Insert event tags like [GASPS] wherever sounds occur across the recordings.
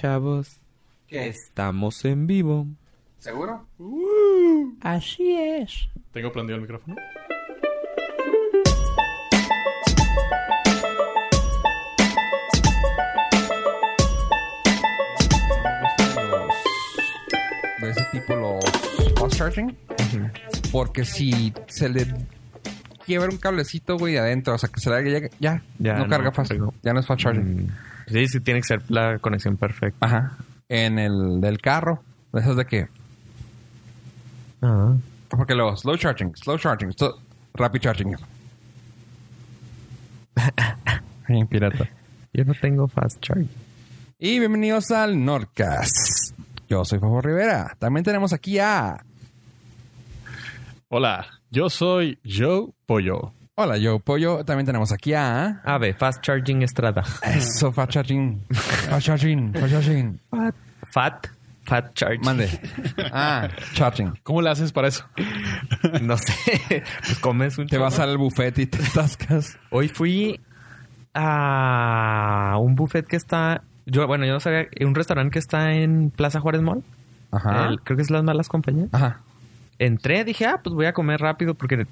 Pichavos, ¿Qué? estamos en vivo. ¿Seguro? Así es. Tengo prendido el micrófono. De ese tipo los fast charging. Porque si se le quiebra un cablecito, güey, de adentro, o sea, que se le haga- ya, ya, Ya, no, Mm. no, carga fast. cargó. Ya no es fast charging. Sí, sí, tiene que ser la conexión perfecta. Ajá. En el del carro, de esas de que. Ah. Porque los slow charging, slow charging, so- rapid charging. [LAUGHS] Bien pirata. Yo no tengo fast charge. Y bienvenidos al Nordcast. Yo soy Fofo Rivera. También tenemos aquí a. Hola, yo soy Joe Pollo. Hola, yo Pollo. También tenemos aquí a. Ave, Fast Charging Estrada. Eso, Fat Charging. Fat Charging. Fat Charging. Fat, Fat Charging. Mande. Ah, Charging. ¿Cómo le haces para eso? No sé. [LAUGHS] Pues comes un Te vas chorro. al buffet y te atascas. Hoy fui a un buffet que está. Yo, bueno, yo no sabía. Un restaurante que está en Plaza Juárez Mall. Ajá. El- creo que es Las Malas Compañías. Ajá. Entré, dije, ah, pues voy a comer rápido porque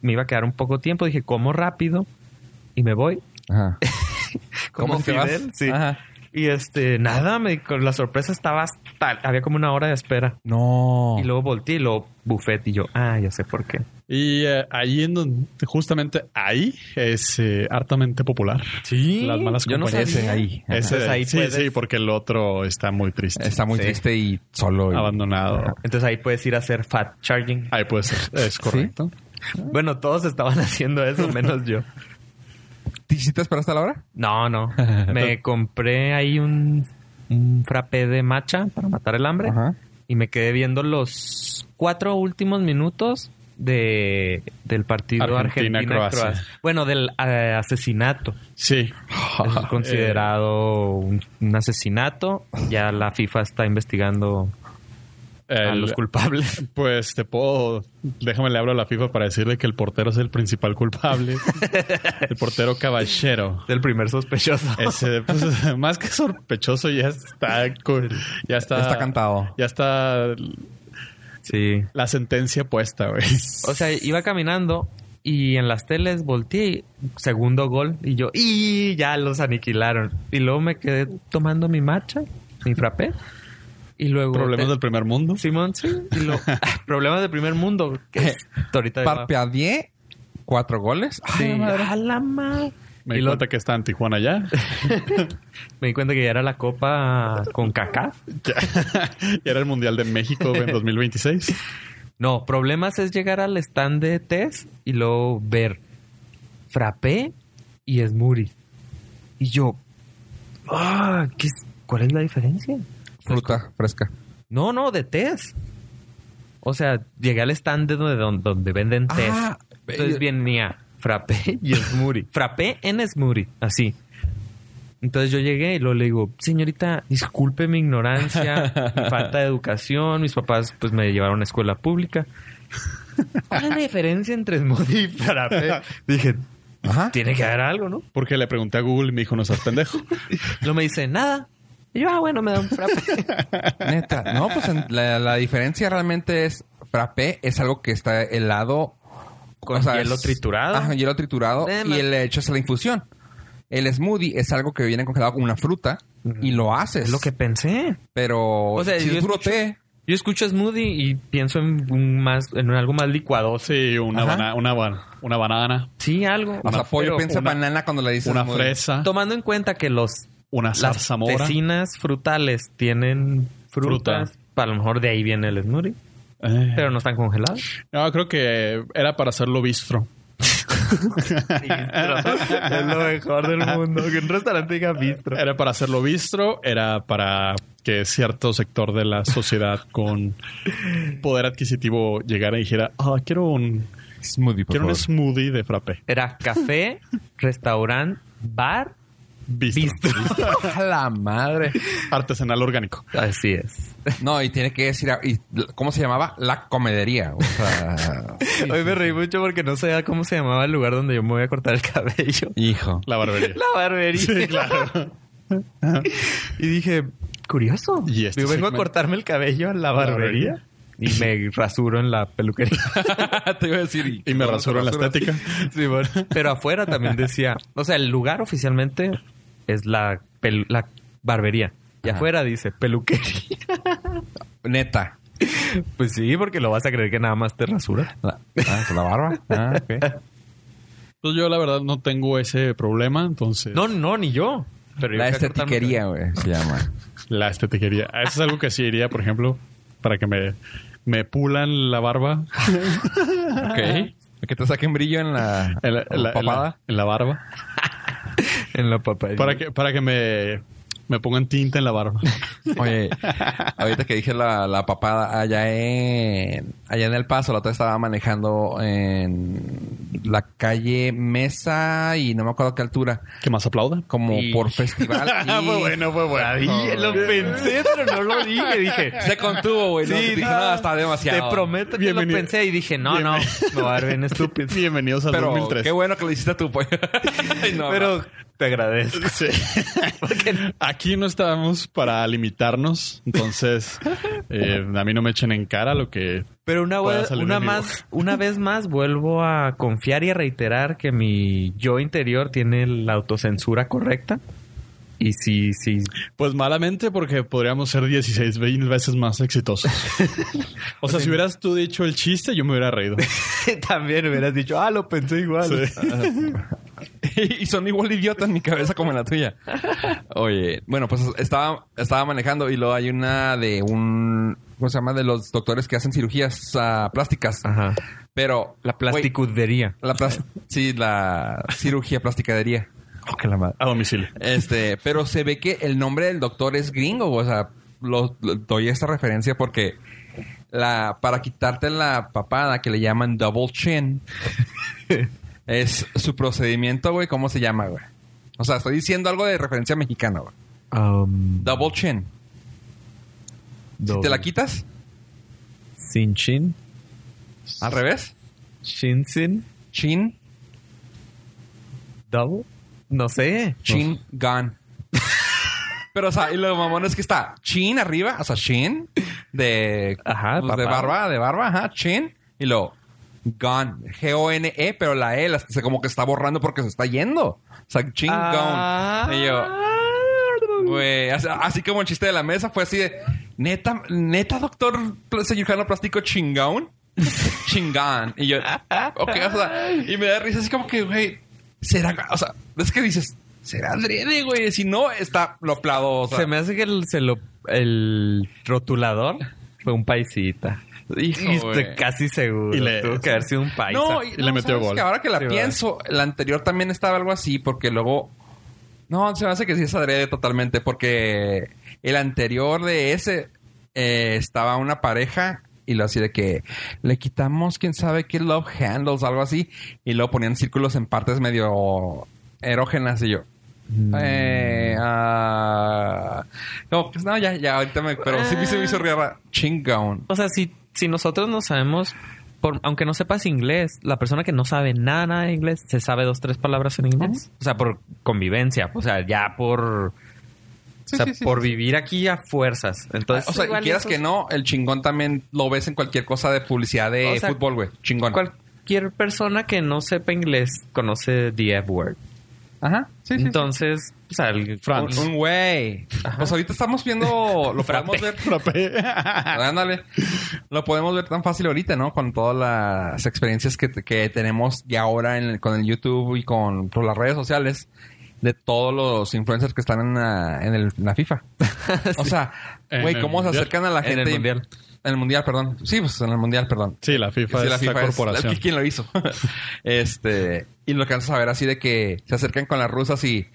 me iba a quedar un poco tiempo. Dije, como rápido y me voy. [LAUGHS] Ajá. Como te vas? Fidel, Sí. Ajá. Y este, nada, me, con la sorpresa estaba hasta. Había como una hora de espera. No. Y luego volteé y luego buffet. Y yo, ah, ya sé por qué. Y eh, ahí en donde, justamente ahí, es eh, hartamente popular. Sí. Las malas yo no compañías. sabía. Ese ahí. Ajá. Ese, Entonces, ahí sí, puedes- sí, porque el otro está muy triste. Está muy Sí. triste y solo. y- abandonado. Entonces ahí puedes ir a hacer fat charging. Ah. Ahí puede ser. Es correcto. Bueno, todos estaban [LAUGHS] haciendo eso, menos yo. ¿Te hiciste esperar hasta la hora? No, no. Me compré ahí un, un frappé de matcha para matar el hambre. Ajá. Y me quedé viendo los cuatro últimos minutos de, del partido Argentina, Argentina-Croacia. Croacia. Bueno, del eh, asesinato. Sí. Eso es considerado un, un asesinato. Ya la FIFA está investigando [LAUGHS] a El- los culpables. Pues te puedo. Déjame le hablo a la FIFA para decirle que el portero es el [LAUGHS] principal culpable. el portero caballero. Del primer sospechoso. Ese, pues, [LAUGHS] más que sospechoso, ya está, co- ya está. Está cantado. Ya está Sí. la sentencia puesta, güey. O sea, iba caminando y en las teles volteé, y segundo gol, y yo, y ya los aniquilaron. Y luego me quedé tomando mi matcha, mi frappé, y luego... [LAUGHS] Problemas del primer mundo. Simón, sí. y [LAUGHS] luego- problemas del primer mundo. Que es, ahorita de abajo. Parpadeé. Cuatro goles. Sí, Ah, Ay, madre. a la madre. Me di y luego cuenta que está en Tijuana ya. me di cuenta que ya era la copa con caca. ya. [LAUGHS] ya era el Mundial de México güey, en 2026. No, problemas es llegar al stand de test y luego ver frappé y smoothie. Y yo, ah, ¿qué es- ¿cuál es la diferencia? Fruta fresca. No, no, de test. O sea, llegué al stand de donde, donde, donde venden test. Ah, Entonces eh, venía frappé [LAUGHS] y smoothie. frappé en smoothie, así. Entonces yo llegué y luego le digo, señorita, disculpe mi ignorancia, mi falta de educación. Mis papás pues me llevaron a escuela pública. ¿Cuál es la diferencia entre smoothie y frappé? Dije, Ajá. tiene que haber algo, ¿no? Porque le pregunté a Google y me dijo, no seas pendejo. No me dice nada. Y yo, ah, bueno, me da un frappé. Neta. No, pues en- la, la diferencia realmente es frappé es algo que está helado Con hielo triturado. Ajá, hielo triturado Eh, y ma- le echas a la infusión. El smoothie es algo que viene congelado con una fruta y lo [LAUGHS] haces. es lo que pensé. Pero O sea, si yo es puro escucho- té, Yo escucho smoothie y pienso en un más, en algo más licuado. Sí, una, Ajá. bana- una, ba- una banana, Sí, algo. hasta pollo Pero piensa una- banana cuando le dices una smoothie. fresa, Tomando en cuenta que los una las zarzamora. vecinas frutales tienen frutas, a lo mejor de ahí viene el smoothie, Eh, pero no están [LAUGHS] congelados. No, creo que era para hacerlo bistro. [LAUGHS] es lo mejor del mundo. Que un restaurante diga bistro. Era para hacerlo bistro, era para que cierto sector de la sociedad con poder adquisitivo llegara y dijera, ah, quiero un, Smoothie, por quiero un favor. smoothie de frappé. Era café, restaurante, bar, Bistro. bistro. [LAUGHS] A la madre. [LAUGHS] Artesanal orgánico. Así es. No, y tiene que decir, y- ¿cómo se llamaba? La comedería. O sea, Hoy me reí mucho porque no sabía cómo se llamaba el lugar donde yo me voy a cortar el cabello. [LAUGHS] hijo. La barbería. La barbería. Sí, claro. Y dije, curioso. Y este Yo vengo segmento- a cortarme el cabello en la barbería y me rasuro en la peluquería. Te iba a decir. Y me rasuro en la estética. Sí, bueno. Pero afuera también decía, o sea, el lugar oficialmente es la, pelu- la barbería. Y Ajá. afuera dice peluquería. Neta. Pues sí, porque lo vas a creer que nada más te rasura. La, ah, la barba. Ah, [LAUGHS] ok. Pues yo la verdad no tengo ese problema, entonces No, no, ni yo. Pero yo La fui a cortarme- estetiquería, güey, se llama. la estetiquería. Eso es algo que sí iría, por ejemplo, para que me, me pulan la barba, Ok. Que te saquen brillo en la, en la, en la- en la- papada. en la barba, En la papaya. para que para que me me pongan tinta en la barba. [LAUGHS] Oye, ahorita que dije la, la papada, allá en, allá en El Paso, la otra vez estaba manejando en la calle Mesa y no me acuerdo qué altura, Que más aplauda. como Y- por festival. [LAUGHS] y- [LAUGHS] Fue bueno, fue bueno. Dije, lo pensé, pero no lo dije. Dije, [LAUGHS] Se contuvo, güey. ¿no? Sí, Dije, no. no, está demasiado. te prometo que lo Bienvenido. pensé y dije, no, no, me va a dar bien [LAUGHS] [LAUGHS] estúpido. Bienvenidos al este Pero 2003. qué bueno que lo hiciste a tu pollo. [LAUGHS] Ay, no, no. Pero te agradezco. [LAUGHS] Sí. Aquí no estábamos para limitarnos, [LAUGHS] entonces eh, a mí no me echen en cara lo que Pero una, Pueda vez- salir una, en vivo. más, una vez más vuelvo a confiar y a reiterar que mi yo interior tiene la autocensura correcta. Y sí, sí. Pues malamente, porque podríamos ser 16 ve- veces [LAUGHS] más exitosos. O sea, si hubieras tú dicho el chiste, yo me hubiera reído. [LAUGHS] También hubieras dicho, ah, lo pensé igual. [LAUGHS] [LAUGHS] y son igual de idiotas en mi cabeza como en la tuya. Oye, bueno, pues estaba, estaba manejando y luego hay una de un. ¿Cómo se llama? De los doctores que hacen cirugías ah, plásticas. Ajá. Pero. La plasticudería. güey, la plas- sí, la cirugía plasticadería. Oh, que la madre. [LAUGHS] A domicilio. Este, pero se ve que el nombre del doctor es gringo, o sea, lo, lo- doy esta referencia porque la para quitarte la papada que le llaman double chin es su procedimiento, güey, ¿cómo se llama, güey? O sea, estoy diciendo algo de referencia mexicana, güey. Um, Double chin. Si te la quitas Sin chin. al revés, Shin sin. chin, Double. No sé. chin gun. Pero, o sea, y lo mamón es que está chin arriba, o sea, chin de, Ajá, pues, de papá. barba, de barba, ajá, chin, y luego gone, G-O-N-E, pero la E la- se- como que está borrando porque se está yendo. O sea, chin Ah. gone. Y yo, güey, así, así como el chiste de la mesa fue así de, neta, neta, doctor pl- cirujano plástico chingón, [LAUGHS] chingón. Y yo, ok, o sea, y me da risa así como que, güey, será, o sea, es que dices, será adrede, güey, si no, está, lo aplaudo, o sea. Se me hace que el, se lo- el rotulador fue un paisita. Hijo, Y güey. estoy casi seguro. Y le- Tuvo que haber sido un paisa. No, y, Y le no, metió ¿sabes gol. que ahora que la Sí, va. pienso, la anterior también estaba algo así, porque luego. No, se me hace que sí es adrede totalmente, porque el anterior de ese eh, estaba una pareja y lo así de que le quitamos quién sabe qué love handles, algo así, y luego ponían círculos en partes medio erógenas y yo. Mm. Eh, ah, no, pues no, ya, ya, ahorita me. Pero sí me hizo, me Ah. hizo reír, Chingón. O sea, si, si nosotros no sabemos, por- aunque no sepas inglés, la persona que no sabe nada, nada de inglés, se sabe dos, tres palabras en inglés. O sea, por convivencia, o sea, ya por... o sea, por vivir aquí a fuerzas. Entonces, O sea, igual quieras esos- que no, el chingón también lo ves en cualquier cosa de publicidad de O sea, fútbol, güey. Chingón. Cualquier persona que no sepa inglés conoce the F-word. Ajá. Sí, sí. Entonces, o sea, el France. Un güey. Pues ahorita estamos viendo, lo podemos ver. Ah, Frappé. Ándale. Lo podemos ver tan fácil ahorita, ¿no? Con todas las experiencias que, que tenemos ya ahora en el- con el YouTube y con por las redes sociales de todos los influencers que están en la, en el- en la FIFA. [LAUGHS] O sea, En güey, el cómo se Mundial. acercan a la En el gente. y- Mundial. En el mundial, perdón. Sí, pues en el mundial, perdón. Sí, la FIFA Sí, es la la FIFA es- corporación. es que ¿Quién lo hizo? [LAUGHS] este, y lo alcanzas a ver así de que se acercan con las rusas y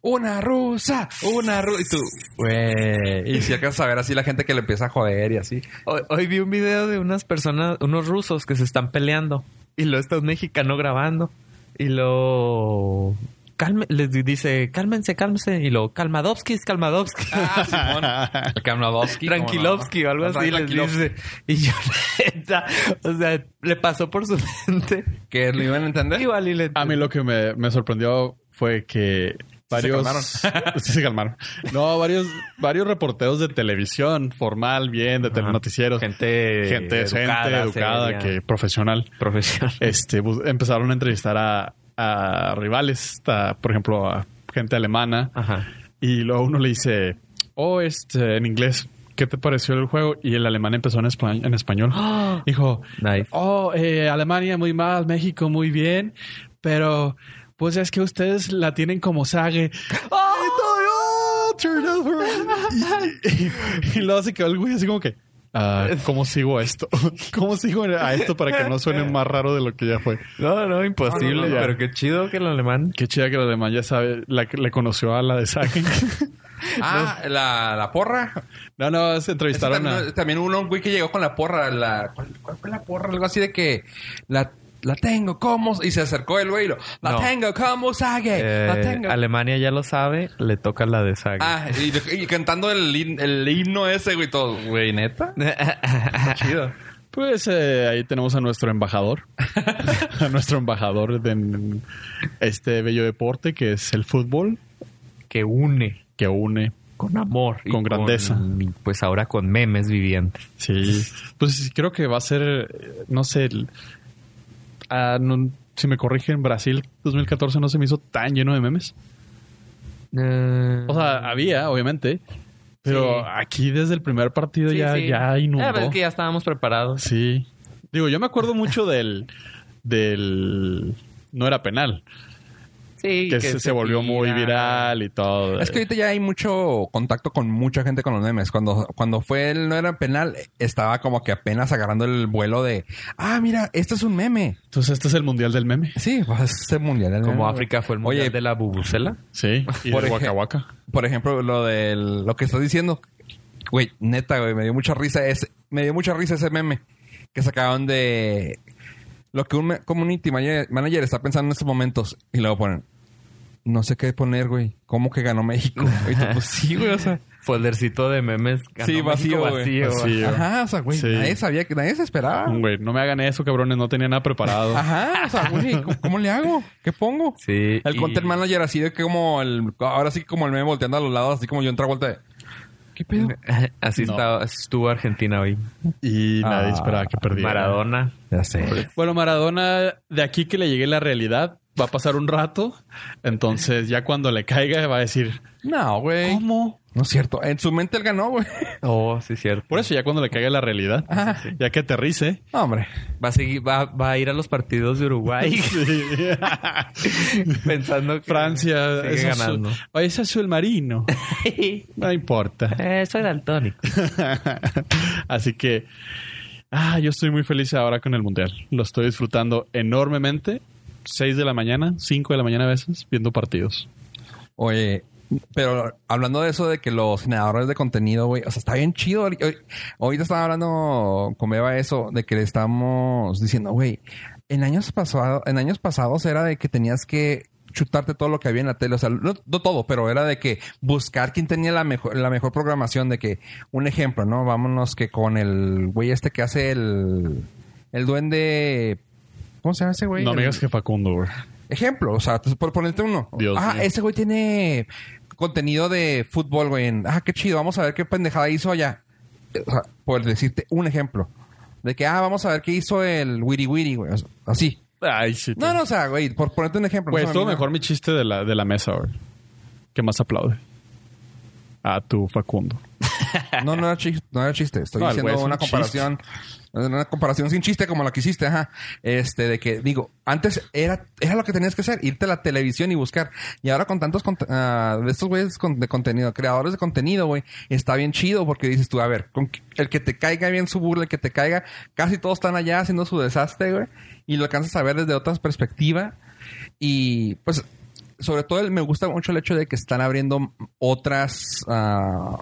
una rusa, una rusa. Y tú, güey. Y si alcanzas a ver así la gente que le empieza a joder y así. Hoy, hoy vi un video de unas personas, unos rusos que se están peleando y luego está un mexicano grabando y lo calme, les di- dice cálmense, cálmense y lo Kalmadovskis, Kalmadovskis, [LAUGHS] Kamladowski. Ah, Tranquilovsky o algo así les dice y yo [LAUGHS] neta, o sea, le pasó por su mente Que lo iban a entender. igual y le A mí lo que me, me sorprendió fue que varios se [LAUGHS] Sí, se calmaron. No, varios varios reporteros de televisión, formal, bien, de telenoticieros, gente Gente, gente educada, educada seria, que profesional. profesional. Este bu- empezaron a entrevistar a, a rivales, a, por ejemplo, a gente alemana Ajá. [GASPS] y luego uno le dice, "Oh, este en inglés, ¿qué te pareció el juego?" y el alemán empezó en, espa- en español. ¡Ah! Dijo, Nice. Oh, eh, Alemania muy mal, México muy bien, pero pues es que ustedes la tienen como [LAUGHS] sague. ¡Ay, todavía! ¡Oh, turnover! Y, y- y luego se quedó el güey así como que. ah, ¿Cómo sigo a esto? [LAUGHS] ¿Cómo sigo a esto para que no suene más raro de lo que ya fue? No, no, imposible. No, no, no. Pero qué chido que el alemán. Qué chida que el alemán ya sabe, la, que- le conoció a la de Sagan. Ah, la, la porra. [LAUGHS] No, no, se Eso entrevistaron También, a... también hubo un güey que llegó con la porra. La, ¿cuál, cuál fue la porra? Algo así de que la, la tengo como... Y se acercó el güey y lo... La No. tengo como sague. la Eh, tengo. Alemania ya lo sabe, le toca la de saga. Ah, y, y cantando el, hin- el himno ese, güey, todo. Güey, ¿neta? Chido. Pues eh, ahí tenemos a nuestro embajador. [LAUGHS] a nuestro embajador de en este bello deporte que es el fútbol. que une que une. con amor. y Con grandeza. y pues ahora con memes vivientes. Sí. Pues creo que va a ser, eh, no sé, el- ah, no- si me corrigen, Brasil 2014 no se me hizo tan lleno de memes. O sea, había, obviamente, pero Sí. aquí desde el primer partido ya, ya inundó. Ah, pero es que ya estábamos preparados. Sí. Digo, yo me [LAUGHS] acuerdo mucho del... del no era penal, Sí, que, se, se volvió muy viral y todo. Es que ahorita ya hay mucho contacto con mucha gente con los memes. Cuando, cuando fue el no era penal, estaba como que apenas agarrando el vuelo de... Ah, mira, este es un meme. Entonces este es el mundial del meme. Sí, va a ser mundial. el Como Eh. meme. África fue el mundial Oye, de la bubucela. Sí. [LAUGHS] Y Por de ej- Waka Waka. por ejemplo, lo de lo que estás diciendo, güey, neta, güey, me dio mucha risa ese, me dio mucha risa ese meme que sacaron de lo que un me- community manager, manager está pensando en estos momentos y luego ponen no sé qué poner, güey. ¿Cómo que ganó México? Y tú, pues sí, güey, o sea, Foldercito de memes. ganó Sí, vacío, México, güey. Vacío. ajá, o sea, güey, Sí. nadie sabía que nadie se esperaba. Güey, no me hagan eso, cabrones. No tenía nada [LAUGHS] preparado. Ajá, o sea, güey, ¿cómo, cómo le hago? ¿Qué pongo? Sí. El y- content manager así de que como el ahora sí como el meme volteando a los lados, así como yo entra vuelta de ¿Qué pedo? [LAUGHS] Así No. estaba- estuvo Argentina hoy. Y nadie Ah, esperaba que perdiera. Maradona. Ya sé. Bueno, Maradona, de aquí que le llegue la realidad, va a pasar un rato. Entonces, ya cuando le caiga, va a decir, No, güey. ¿cómo? No es cierto. En su mente él ganó, güey. Oh, sí, cierto. Por eso, ya cuando le caiga la realidad, Ah. ya que aterrice. No, hombre. Va a seguir, va, va a ir a los partidos de [LAUGHS] Uruguay [LAUGHS] pensando que Francia sigue es azul. [LAUGHS] ganando. Oye, es azul marino. No importa. [LAUGHS] eh, soy daltónico. Así que ah, yo estoy muy feliz ahora con el mundial. Lo estoy disfrutando enormemente. 6 de la mañana, 5 de la mañana a veces, viendo partidos. Oye, pero hablando de eso de que los generadores de contenido, güey, o sea, está bien chido. Ahori- ahori- Ahorita estaba hablando con Beba eso, de que le estamos diciendo, güey, en años pasados, en años pasados era de que tenías que chutarte todo lo que había en la tele, o sea, no, no todo, pero era de que buscar quién tenía la mejor, la mejor programación, de que, un ejemplo, ¿no? Vámonos que con el güey este que hace el, el duende, ¿cómo se llama ese güey? no me El- digas que Facundo, güey. Ejemplo, o sea, por ponerte uno. Dios ah, mío. ese güey tiene contenido de fútbol, güey. en- Ah, qué chido, vamos a ver qué pendejada hizo allá. O sea, por decirte un ejemplo. De que, ah, vamos a ver qué hizo el Wiri Wiri, güey. O sea, Así. Ay, sí. No, no, o sea, güey, por ponerte un ejemplo. Pues no sé, estuvo a mí no. mejor mi chiste de la, de la mesa, güey. ¿Qué más aplaude? A tu Facundo. No, no era chiste, no era chiste. Estoy No, el diciendo güey es un una comparación. Una comparación sin chiste como la que hiciste, ajá. Este, de que, digo, antes era, era lo que tenías que hacer, irte a la televisión y buscar. Y ahora con tantos cont- ah, de estos güeyes con- de contenido, creadores de contenido, güey, está bien chido porque dices tú, a ver, con que- el que te caiga bien su burla, el que te caiga, casi todos están allá haciendo su desastre, güey. Y lo alcanzas a ver desde otras perspectivas. Y pues, sobre todo el- me gusta mucho el hecho de que están abriendo otras ah,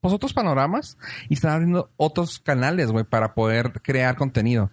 pues otros panoramas y están abriendo otros canales, güey, para poder crear contenido.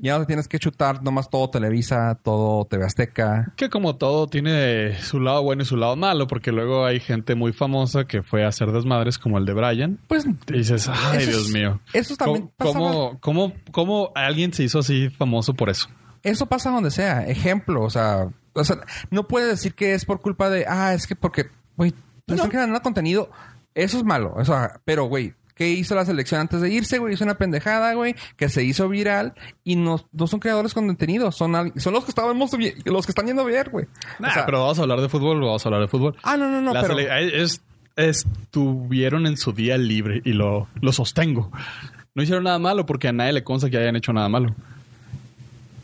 Ya no te tienes que chutar nomás todo Televisa, todo TV Azteca. Que como todo tiene su lado bueno y su lado malo, porque luego hay gente muy famosa que fue a hacer desmadres como el de Brian. Pues Y dices, Eso ay, es- Dios mío. eso también ¿Cómo, pasaba. cómo, cómo- cómo alguien se hizo así famoso por eso? eso pasa donde sea. Ejemplo, o sea, O sea, no puedes decir que es por culpa de. Ah, es que porque. Güey, pues, te están generando contenido. Eso es malo. O sea, pero, güey. ¿Qué hizo la selección antes de irse, güey? Hizo una pendejada, güey, que se hizo viral y no, no son creadores con contenido, son, al- son los que estábamos vi- los que están yendo a ver, güey. O Nah, sea, pero vamos a hablar de fútbol, vamos a hablar de fútbol. Ah, no, no, no, La pero sele- es- estuvieron en su día libre y lo, lo sostengo. No hicieron nada malo porque a nadie le consta que hayan hecho nada malo.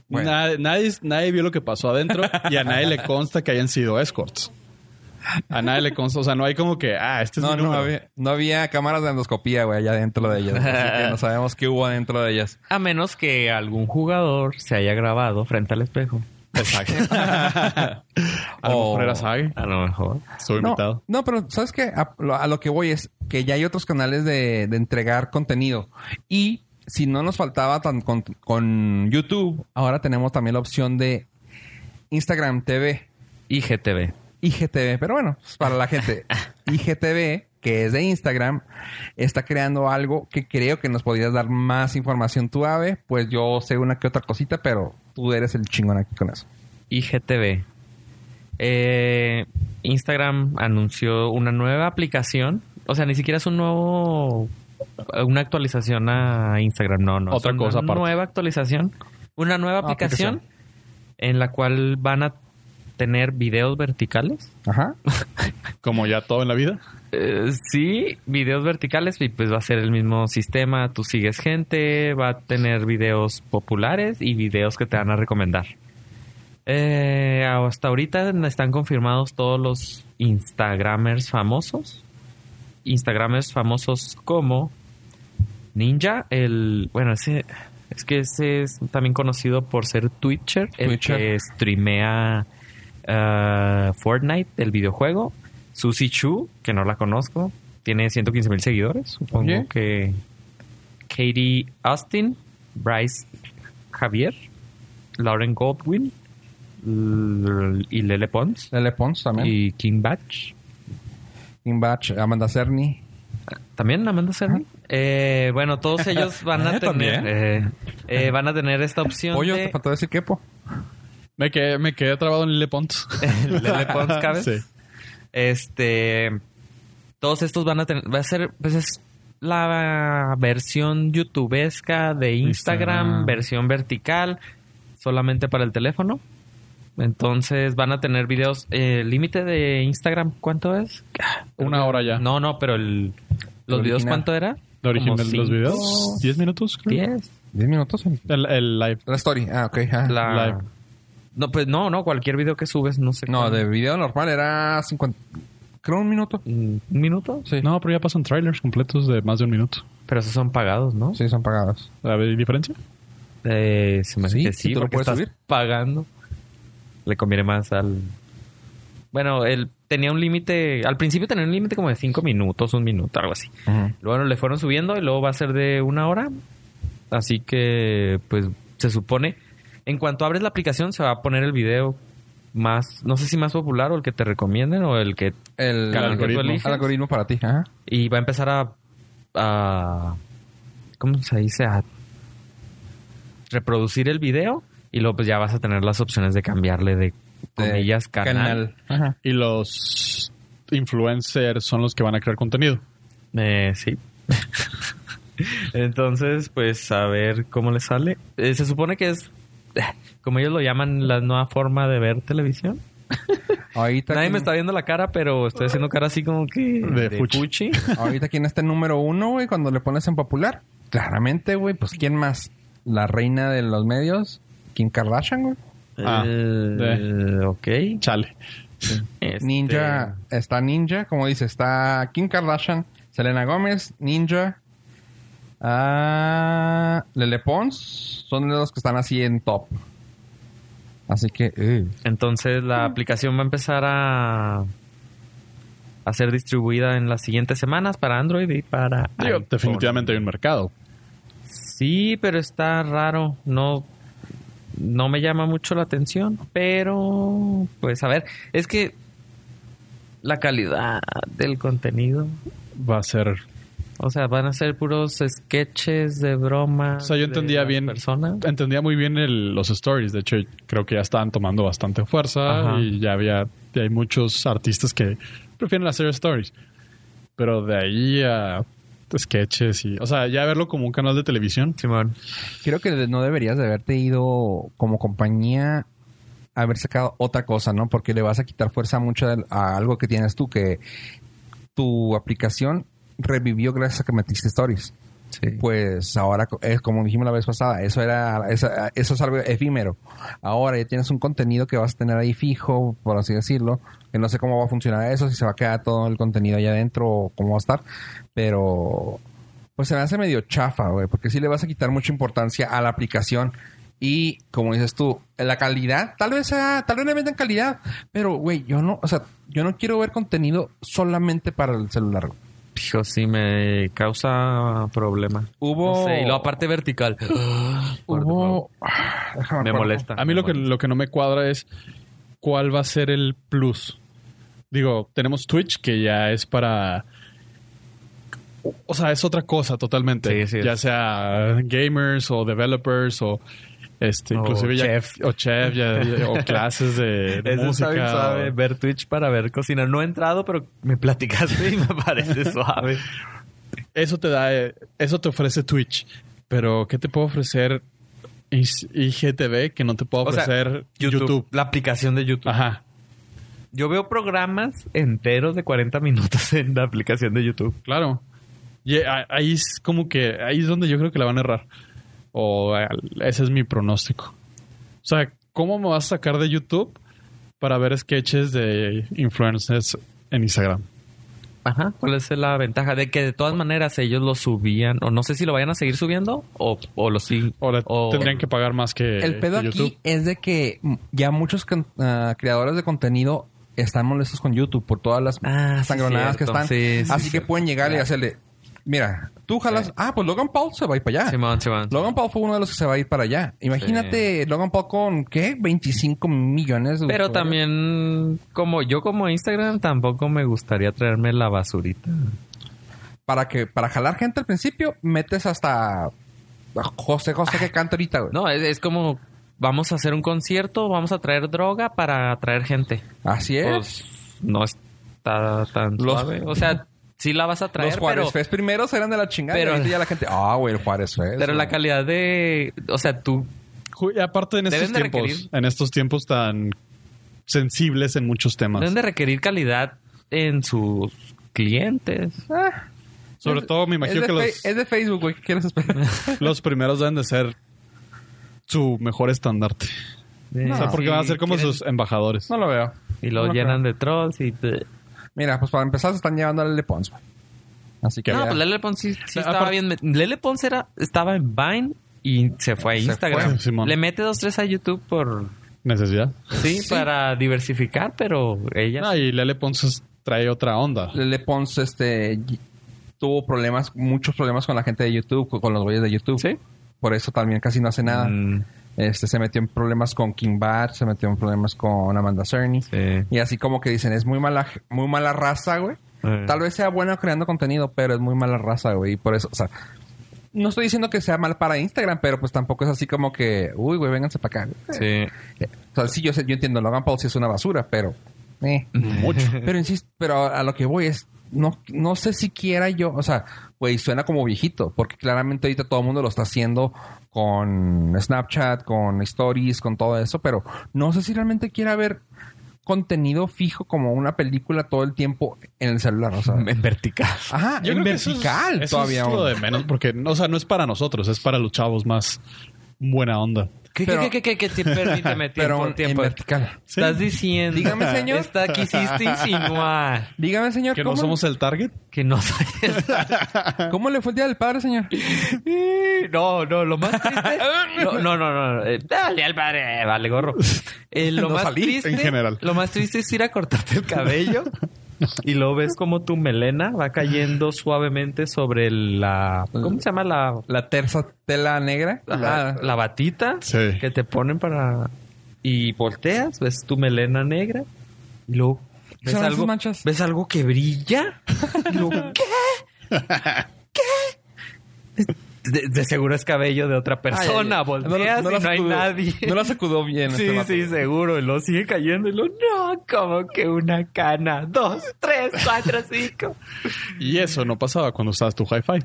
Bueno. Nad- nadie, nadie vio lo que pasó adentro y a nadie le consta que hayan sido escorts. A nadie le consta, o sea, no hay como que, ah, este es no, mi no número. había, no había cámaras de endoscopía, güey, allá dentro de ellas. Así que no sabemos qué hubo dentro de ellas. A menos que algún jugador se haya grabado frente al espejo. Exacto. [LAUGHS] a lo O- mejor era Sage, A lo mejor. estuvo Oh. No, invitado. No, pero ¿sabes qué? A lo, a lo que voy es que ya hay otros canales de, de entregar contenido. Y si no nos faltaba tan con, con YouTube, ahora tenemos también la opción de Instagram TV, IGTV. IGTV. Pero bueno, es para la [LAUGHS] gente, IGTV, que es de Instagram, está creando algo que creo que nos podrías dar más información tú, Ave. Pues yo sé una que otra cosita, pero tú eres el chingón aquí con eso. IGTV. Eh, Instagram anunció una nueva aplicación. O sea, ni siquiera es un nuevo. Una actualización a Instagram. No, no. es Otra cosa Una aparte. nueva actualización. Una nueva Ah, aplicación. aplicación en la cual van a tener videos verticales. Ajá. Como ya todo en la vida. Eh, sí, videos verticales y pues va a ser el mismo sistema. Tú sigues gente, va a tener videos populares y videos que te van a recomendar. Eh, hasta ahorita están confirmados todos los Instagramers famosos. Instagramers famosos como Ninja, el... Bueno, ese... Es que ese es también conocido por ser Twitcher, el Twitcher. que streamea ah, Fortnite, el videojuego. Susi Chu, que no la conozco, tiene 115 mil seguidores. Supongo Oye. que Katie Austin, Bryce Javier, Lauren Goldwyn l- y Lele Pons Lele Pons también. y Kim Batch. Inbach, Amanda Cerny. También Amanda Sermi. Eh, bueno, todos ellos [LAUGHS] van a tener Eh, también. eh, eh, van a tener esta opción Pollo, te de faltó decir quepo. Me quedé, me quedé trabado en [LAUGHS] Lille Pons. Lele Pons, ¿cabes? Sí. Este. Todos estos van a tener. Va a ser. Pues es la versión youtubesca de Instagram, Instagram. versión vertical, solamente para el teléfono. Entonces van a tener videos. eh, ¿El límite de Instagram cuánto es? Una hora ya. No, no, pero el. ¿Los El videos original. cuánto era? ¿La original de los cinco, videos? ¿10 minutos? creo. diez. ¿Diez minutos? El, el live. La story. Ah, ok. ajá. La- Live. No, pues no, no, cualquier video que subes, no sé. No, cuánto. de video normal era 50. Creo un minuto. ¿Un minuto? Sí. No, pero ya pasan trailers completos de más de un minuto. Pero esos son pagados, ¿no? Sí, son pagados. ¿A ver, ¿hay diferencia? Eh, se me hace Sí, que sí, tú lo porque puedes estás subir. pagando. Le conviene más al... Bueno, él tenía un límite... Al principio tenía un límite como de cinco minutos, un minuto, algo así. Luego le fueron subiendo y luego va a ser de una hora. Así que, pues, se supone... En cuanto abres la aplicación se va a poner el video más... No sé si más popular o el que te recomienden o el que... El, Cada algoritmo. que tú eliges. El algoritmo para ti. Ajá. Y va a empezar a... a- ¿Cómo se dice? A reproducir el video y luego pues ya vas a tener las opciones de cambiarle de De comillas canal. Ajá. Y los influencers son los que van a crear contenido. Eh, sí. [LAUGHS] Entonces, pues a ver cómo le sale. Eh, se supone que es, [LAUGHS] como ellos lo llaman, la nueva forma de ver televisión. Ahorita, Nadie quién- me está viendo la cara, pero estoy haciendo cara así como que De fuchi. fuchi. ahorita quién está en número uno, güey, cuando le pones en popular. Claramente, güey, pues ¿quién más? La reina de los medios, Kim Kardashian, güey. Ah, Eh, de- ok. Chale. Este, Ninja, está Ninja, como dice, está Kim Kardashian, Selena Gómez, Ninja, ah, Lele Pons, son los que están así en top. Así que, eh, Entonces la aplicación va a empezar a, a ser distribuida en las siguientes semanas para Android y para Digo, iPhone. definitivamente hay un mercado. Sí, pero está raro. No, no me llama mucho la atención, pero pues a ver, es que la calidad del contenido Va a ser O sea, van a ser puros sketches de broma. O sea, yo entendía bien. Eh, Persona. Entendía muy bien el- los stories. De hecho, creo que ya estaban tomando bastante fuerza Ajá. y ya había ya hay muchos artistas que prefieren hacer stories. Pero de ahí a sketches y... O sea, ya verlo como un canal de televisión. Simón. Creo que no deberías de haberte ido como compañía a haber sacado otra cosa, ¿no? Porque le vas a quitar fuerza mucho del- a algo que tienes tú, que tu aplicación revivió gracias a que metiste stories. Sí. Pues ahora, co- es como dijimos la vez pasada, eso era esa- eso es algo efímero. Ahora ya tienes un contenido que vas a tener ahí fijo, por así decirlo. Que no sé cómo va a funcionar eso, si se va a quedar todo el contenido allá adentro o cómo va a estar. Pero pues se me hace medio chafa, güey, porque sí le vas a quitar mucha importancia a la aplicación. Y como dices tú, la calidad, tal vez sea, tal vez le metan calidad, pero güey, yo no, o sea, yo no quiero ver contenido solamente para el celular. güey. Hijo, sí me causa problema. Hubo- No sé, y luego aparte vertical. [GASPS] Por default. Hubo- Déjame Me acuerdo. molesta. A mí me lo que, molesta. lo que no me cuadra es cuál va a ser el plus. Digo, tenemos Twitch que ya es para... O sea, es otra cosa totalmente. Sí, sí es. ya sea gamers o developers o... Este, O inclusive ya- o chef ya- [LAUGHS] ya- o clases de, de Eso música. está bien suave. o- Ver Twitch para ver cocina. No he entrado, pero me platicaste y me [LAUGHS] parece suave. eso te da, eh, eso te ofrece Twitch. Pero, ¿qué te puedo ofrecer is- IGTV que no te puedo O sea, ofrecer YouTube. La aplicación de YouTube. Ajá. Yo veo programas enteros de 40 minutos en la aplicación de YouTube. Claro. Y a- ahí es como que ahí es donde yo creo que la van a errar. O eh, ese es mi pronóstico. O sea, ¿cómo me vas a sacar de YouTube para ver sketches de influencers en Instagram? Ajá. ¿Cuál es la ventaja? De que de todas maneras ellos lo subían, o no sé si lo vayan a seguir subiendo, o, o lo siguen. O, la- o- tendrían que pagar más que Eh, El pedo que aquí es de que mm, ya muchos can- ah, creadores de contenido están molestos con YouTube por todas las Ah, sí, sangronadas que cierto. están. Sí, sí, Así que cierto. pueden llegar y hacerle, mira, tú jalas, ah, pues Logan Paul se va a ir para allá. Simón, Simón. Logan Paul fue uno de los que se va a ir para allá. Imagínate Logan Paul con, ¿qué? 25 millones. de Pero usuarios. también, como yo como Instagram, tampoco me gustaría traerme la basurita. Para que para jalar gente al principio, metes hasta a José José que canta ahorita, güey. Ah, No, es, es como vamos a hacer un concierto, vamos a traer droga para atraer gente. Así es. Pues, no está tan Los- suave. O sea, sí la vas a traer, los Juárez pero, Fest primeros eran de la chingada. pero- y ahorita ya la gente, ah, güey, el Juárez Fest. pero la güey". calidad de... O sea, tú... Ju- y aparte en estos Deben de tiempos, requerir- en estos tiempos tan sensibles en muchos temas. Deben de requerir calidad en sus clientes. Ah. Sobre Es- todo me imagino es que de los, fe- Es de Facebook, güey. ¿Qué [LAUGHS] quieres esperar? los primeros deben de ser su mejor estandarte. o sea, porque van a ser como quieren- sus embajadores. no lo veo. Y lo No lo llenan de trolls y... creo. Mira, pues para empezar se están llevando a Lele Pons, güey. Así que no, ya. pues Lele Pons sí, sí Ah, estaba aparte- bien. met- Lele Pons era, estaba en Vine y se fue a Se Instagram. fue, Simón. Le mete dos, tres a YouTube por... Necesidad. Sí, para diversificar, pero ella... No, Ah, y Lele Pons trae otra onda. Lele Pons este, y- tuvo problemas, muchos problemas con la gente de YouTube, con- con los güeyes de YouTube. Sí. Por eso también casi no hace nada. Mm, Este, se metió en problemas con King Bar, se metió en problemas con Amanda Cerny. sí. Y así como que dicen, es muy mala, muy mala raza, güey. Eh. Tal vez sea bueno creando contenido, pero es muy mala raza, güey. Y por eso, o sea, no estoy diciendo que sea mal para Instagram, pero pues tampoco es así como que, uy, güey, vénganse para acá. güey. Sí. Eh, O sea, sí, yo, sé- yo entiendo, Logan Paul sí es una basura, pero... eh. Mucho. Pero insisto, pero a lo que voy es, no, no sé siquiera yo, o sea, güey, suena como viejito, porque claramente ahorita todo el mundo lo está haciendo con Snapchat, con Stories, con todo eso, pero no sé si realmente quiera ver contenido fijo como una película todo el tiempo en el celular, o sea. [LAUGHS] En vertical. Ajá, en creo que eso es- vertical eso todavía. Es lo aún. de menos, porque, o sea, no es para nosotros, es para los chavos más buena onda. ¿Qué, Pero- qué, qué, qué, qué, qué? [LAUGHS] Permíteme, tiempo, pero en- tiempo. en vertical. Sí. Estás diciendo. Dígame, señor. Está, quisiste insinuar Dígame, señor, Que ¿cómo, no somos el target. que no [LAUGHS] soy ¿cómo le fue el día del padre, señor? el- [LAUGHS] No, no, lo más triste. [LAUGHS] No, no, no. no, eh, dale al padre, vale, gorro. Eh, [LAUGHS] lo No más salí, triste. en general. Lo más triste es ir a cortarte el cabello y luego ves como tu melena va cayendo suavemente sobre la. ¿Cómo se llama? La. La terza tela negra. La, Ah, la batita Sí. que te ponen para. Y volteas, ves tu melena negra. Y luego. ¿Qué ¿Ves son esas algo, manchas? [LAUGHS] ¿Ves algo que brilla? Y luego, ¿Qué? de, de seguro es cabello de otra persona. Ay, ay, ay. Volteas la y no hay sacudó- nadie. No la sacudó bien. este Sí, vato. sí, seguro. Y luego sigue cayendo. Y luego, no, como que una cana. Dos, tres, cuatro, cinco. Y eso no pasaba cuando usabas tu hi-fi.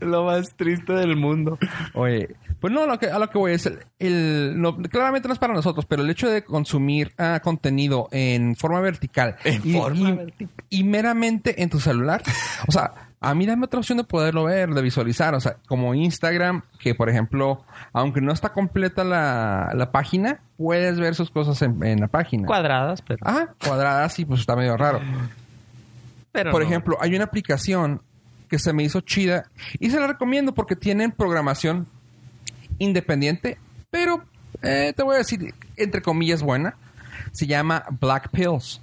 Lo más triste del mundo. Oye, pues no, lo que- a lo que voy es, el, el- no, claramente no es para nosotros, pero el hecho de consumir ah, contenido en forma vertical. En forma vertical. Y meramente en tu celular. O sea, a mí dame otra opción de poderlo ver, de visualizar. O sea, como Instagram, que por ejemplo, aunque no está completa la, la página, puedes ver sus cosas en, en la página. Cuadradas, pero. Ah, cuadradas y pues está medio raro. pero Por no. ejemplo, hay una aplicación que se me hizo chida y se la recomiendo porque tienen programación independiente, pero eh, te voy a decir, entre comillas, buena. Se llama Black Pills.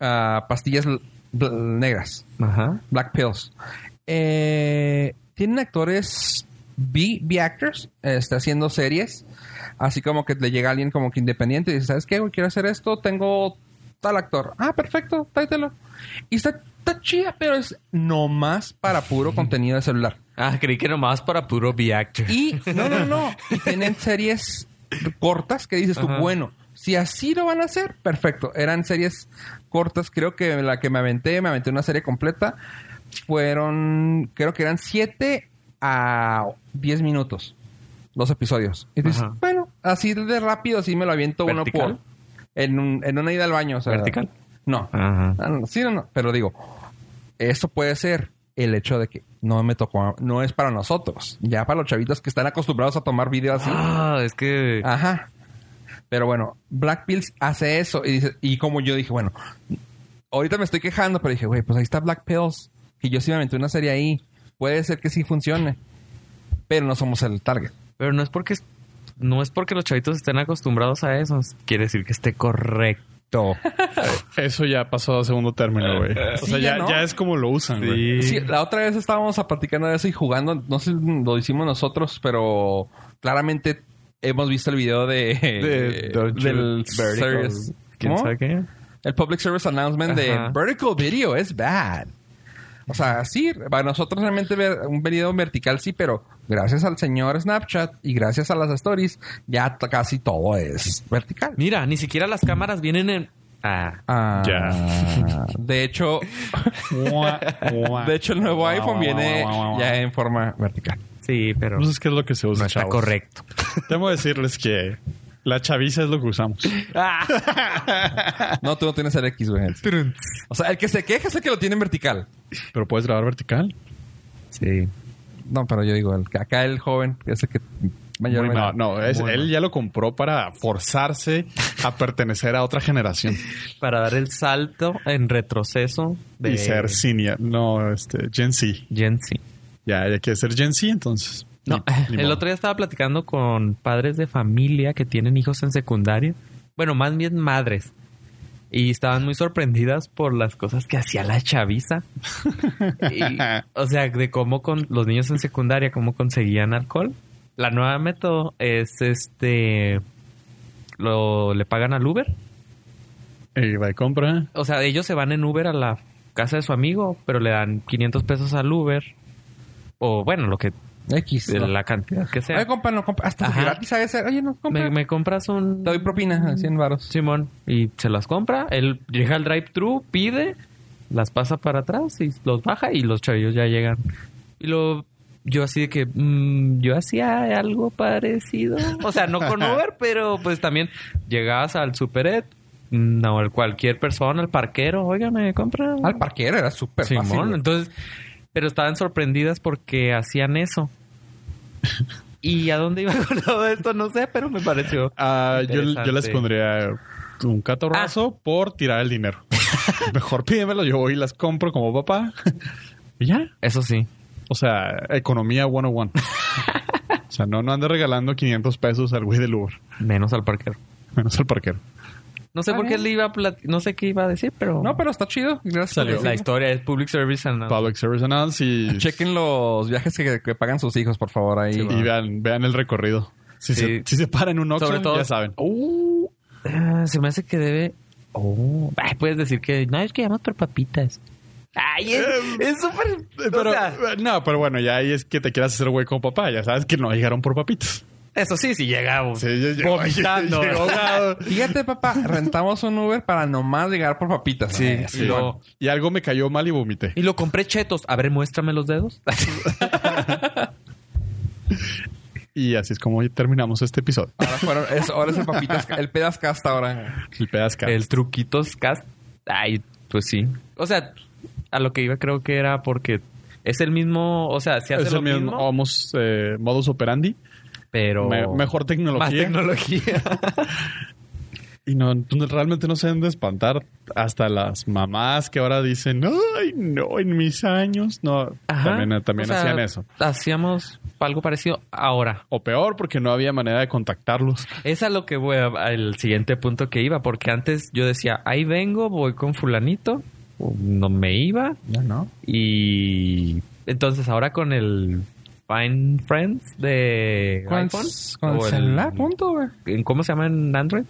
Ah, pastillas bl- bl- negras. Ajá. Black Pills. Eh, tienen actores B, B actors, este, haciendo series. Así como que le llega alguien como que independiente y dice, ¿sabes qué? güey? Quiero hacer esto, tengo tal actor. Ah, perfecto, tráetelo. Y está, está chida, pero es nomás para puro contenido de celular. Ah, creí que nomás para puro B-Actor. Y no, no, no. Y tienen series cortas que dices tú, Ajá. bueno, si así lo van a hacer, perfecto. Eran series cortas, creo que la que me aventé, me aventé una serie completa. Fueron, creo que eran 7 a 10 minutos los episodios. Y dices, Ajá. bueno, así de rápido, así me lo aviento uno ¿Vertical? por. En, un- en una ida al baño. o sea, ¿Vertical? No. Ajá. Ah, no, Sí, no, no. Pero digo, esto puede ser el hecho de que no me tocó, no es para nosotros. Ya para los chavitos que están acostumbrados a tomar videos así. Ah, es que. Ajá. Pero bueno, Black Pills hace eso. Y, dice, y como yo dije, bueno, ahorita me estoy quejando, pero dije, güey, pues ahí está Black Pills. Que yo sí me aventé una serie ahí. Puede ser que sí funcione. Pero no somos el target. Pero no es porque. No es porque los chavitos estén acostumbrados a eso. Quiere decir que esté correcto. Eso ya pasó a segundo [LAUGHS] término, güey. O Sí, sea, ya ya, no. ya es como lo usan, güey. Sí, la otra vez estábamos platicando de eso y jugando. No sé si lo hicimos nosotros, pero claramente hemos visto el video de, De- Don't you del vertical. service. ¿Quién ¿Cómo? sabe qué? El public service announcement Ajá. de vertical video es bad. O sea, sí, para nosotros realmente ver un video vertical sí, pero gracias al señor Snapchat y gracias a las stories, ya t- casi todo es vertical. Mira, ni siquiera las cámaras vienen en. Ah. Ah, Ya. [LAUGHS] De hecho, de [LAUGHS] de hecho el nuevo iPhone viene ya en forma vertical. Sí, pero. No sé qué es lo que se usa, No está Pues, chavos. correcto. Debo decirles que la chaviza es lo que usamos. No, tú no tienes el X, güey. O sea, el que se queja es el que lo tiene en vertical. Pero puedes grabar vertical. Sí. No, pero yo digo, el, acá el joven es el que Muy mayormente... mal. No, es- Muy él mal. ya lo compró para forzarse a pertenecer a otra generación Para dar el salto en retroceso de. y ser senior. No, este, Gen Z. Gen Z. Ya, hay que ser Gen Z entonces. No, eh, [LAUGHS] Ni- ni el modo. otro día estaba platicando con padres de familia que tienen hijos en secundaria. Bueno, más bien madres. Y estaban muy sorprendidas por las cosas que hacía la chaviza. Y, o sea, de cómo con los niños en secundaria, cómo conseguían alcohol. La nueva método es este... Lo, le pagan al Uber. Y va de compra. O sea, ellos se van en Uber a la casa de su amigo, pero le dan 500 pesos al Uber. O bueno, lo que... X. ¿no? La cantidad que sea. Oye, compa, no, compa. Hasta Ajá. gratis a veces. Oye, no, compa. me, Mm. me compras un... Te doy propina, 100 varos. Simón, y se las compra. Él llega al drive-thru, pide, las pasa para atrás y los baja y los chavillos ya llegan. Y lo yo así de que mm, yo hacía algo parecido. O sea, no [LAUGHS] con Uber, pero pues también llegabas al Superet, mm, o al cualquier persona, al parquero, oiga, me compra. Al parquero era súper Simón, fácil. güey. entonces, pero estaban sorprendidas porque hacían [LAUGHS] eso. ¿Y a dónde iba con todo esto? No sé, pero me pareció. Ah, yo, yo les interesante. Ah. pondría un catorrazo por tirar [LAUGHS] el dinero. Mejor pídemelo, yo voy y las compro como papá. y ya. Eso sí. O sea, economía 101. o sea, no, no andes regalando 500 pesos al güey del Uber, Menos al parquero. menos al parquero. No sé Ah, Está por qué bien. le iba a plati- no sé qué iba a decir, pero pues, No, pero está chido. Gracias. la a Dios. historia es public service and uh, Public Service Announce y, Chequen los viajes que, que pagan sus hijos, por favor. Ahí. Sí, y vean, vean el recorrido. Si, Sí. se, si se paran en un Sobre Oxxo, todo- ya saben. Uh, ah, se me hace que debe Oh, ay, puedes decir que no es que llamas por papitas. Ay, es es súper. Eh, Pero, o eh, sea, no, pero bueno, ya ahí es que te quieras hacer güey con papá. Ya sabes que no llegaron por papitas. eso sí, sí llegamos. Sí, yo- yo- Vomitando. llegó ahogado. [LAUGHS] Fíjate, papá, rentamos un Uber para nomás llegar por papitas. Sí, Ay, sí. Y, lo- y algo me cayó mal y vomité. Y lo compré chetos. A ver, muéstrame los [LAUGHS] dedos. Y así es como terminamos este episodio. Ahora, fueron, es, ahora es el papitas, el pedas casta ahora. [LAUGHS] El pedazca. El truquitos cast. Ay, pues sí. O sea, a lo que iba creo que era porque es el mismo. O sea, se hace es lo el mismo, mismo, Vamos, eh, modus operandi. pero. Me- mejor tecnología. Más tecnología. Y no, no- realmente no se han de espantar hasta las mamás que ahora dicen, ay, no, en mis años. No, Ajá. [LAUGHS] también, eh, también O sea, hacían eso. Hacíamos algo parecido ahora. O peor, porque no había manera de contactarlos. Es a lo que voy, a- al siguiente punto que iba, porque antes yo decía, ahí vengo, voy con fulanito, no me iba, Ya no. y entonces ahora con el Find Friends de iPhone, o el- punto, güey. ¿en ¿cómo se llama en Android?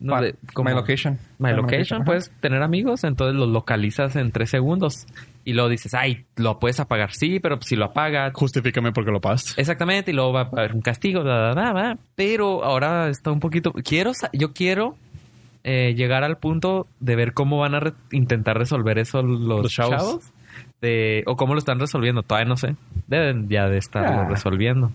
No, Pa- de- como- My location. My Location, ajá. puedes tener amigos, entonces los localizas en tres segundos y luego dices, ay, lo puedes apagar, sí, pero si lo apagas, Justifícame porque lo pagaste. Exactamente, y luego va a haber un castigo, da, da, da, da. Pero ahora está un poquito. Quiero, sa- yo quiero eh, llegar al punto de ver cómo van a re- intentar resolver eso los, Los chavos. chavos. de- o cómo lo están resolviendo, todavía no sé. Deben ya de estarlo Ah. resolviendo.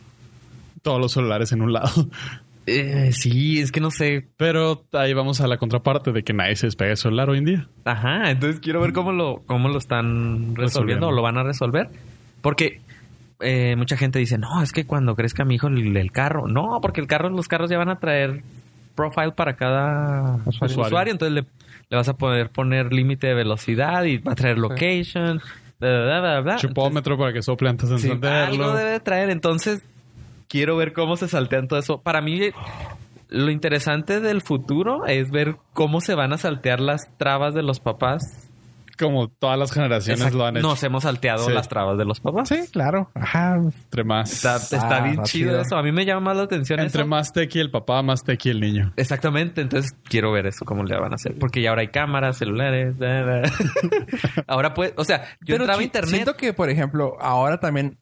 Todos los celulares en un lado. [LAUGHS] Eh, sí, es que no sé. Pero ahí vamos a la contraparte de que nadie se despega del celular hoy en día. Ajá, entonces quiero ver cómo lo, cómo lo están resolviendo, Resolviendo. o lo van a resolver. Porque eh, mucha gente dice, no, es que cuando crezca mi hijo el, el carro. No, porque el carro, los carros ya van a traer profile para cada Usuario. usuario. entonces le, le vas a poder poner límite de velocidad y va a traer location, bla, bla, bla, bla, bla. Chupómetro para que sople antes de Ah, Sí, algo encenderlo. debe de traer. Entonces, quiero ver cómo se saltean todo eso. Para mí, eh, lo interesante del futuro es ver cómo se van a saltear las trabas de los papás. Como todas las generaciones Exacto. lo han hecho. Nos hemos salteado Sí. las trabas de los papás. Sí, claro. Ajá. Entre más. Está, está Ah, bien está chido, chido. eso. A mí me llama más la atención entre eso. más tequi el papá, más tequi el niño. Exactamente, entonces quiero ver eso, cómo le van a hacer. Porque ya ahora hay cámaras, celulares. da, da. [LAUGHS] ahora pues, o sea, yo Pero entraba a chi- internet. Siento que, por ejemplo, ahora también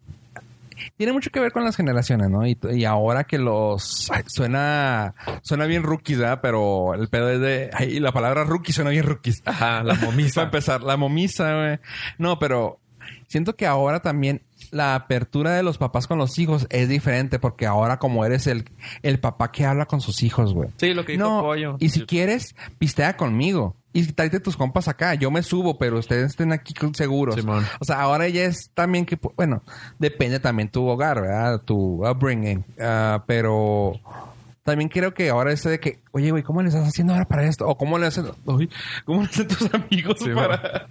tiene mucho que ver con las generaciones, ¿no? Y, t- y ahora que los ay, suena suena bien rookies, ¿verdad? Pero el pedo es de ay, la palabra rookie suena bien rookies. Ajá, la [LAUGHS] Para momisa. empezar, la momisa, güey. No, pero siento que ahora también la apertura de los papás con los hijos es diferente porque ahora como eres el, el papá que habla con sus hijos, güey. Sí, lo que dijo No, Pollo. y si quieres, pistea conmigo. Y tráete tus compas acá. Yo me subo, pero ustedes estén aquí con- seguros. Simón. O sea, ahora ya es también que... pu- Bueno, depende también tu hogar, ¿verdad? Tu upbringing. Ah, pero... También creo que ahora es de que... Oye, güey, ¿cómo le estás haciendo ahora para esto? O ¿cómo le hacen... Uy, ¿Cómo le hacen tus amigos para...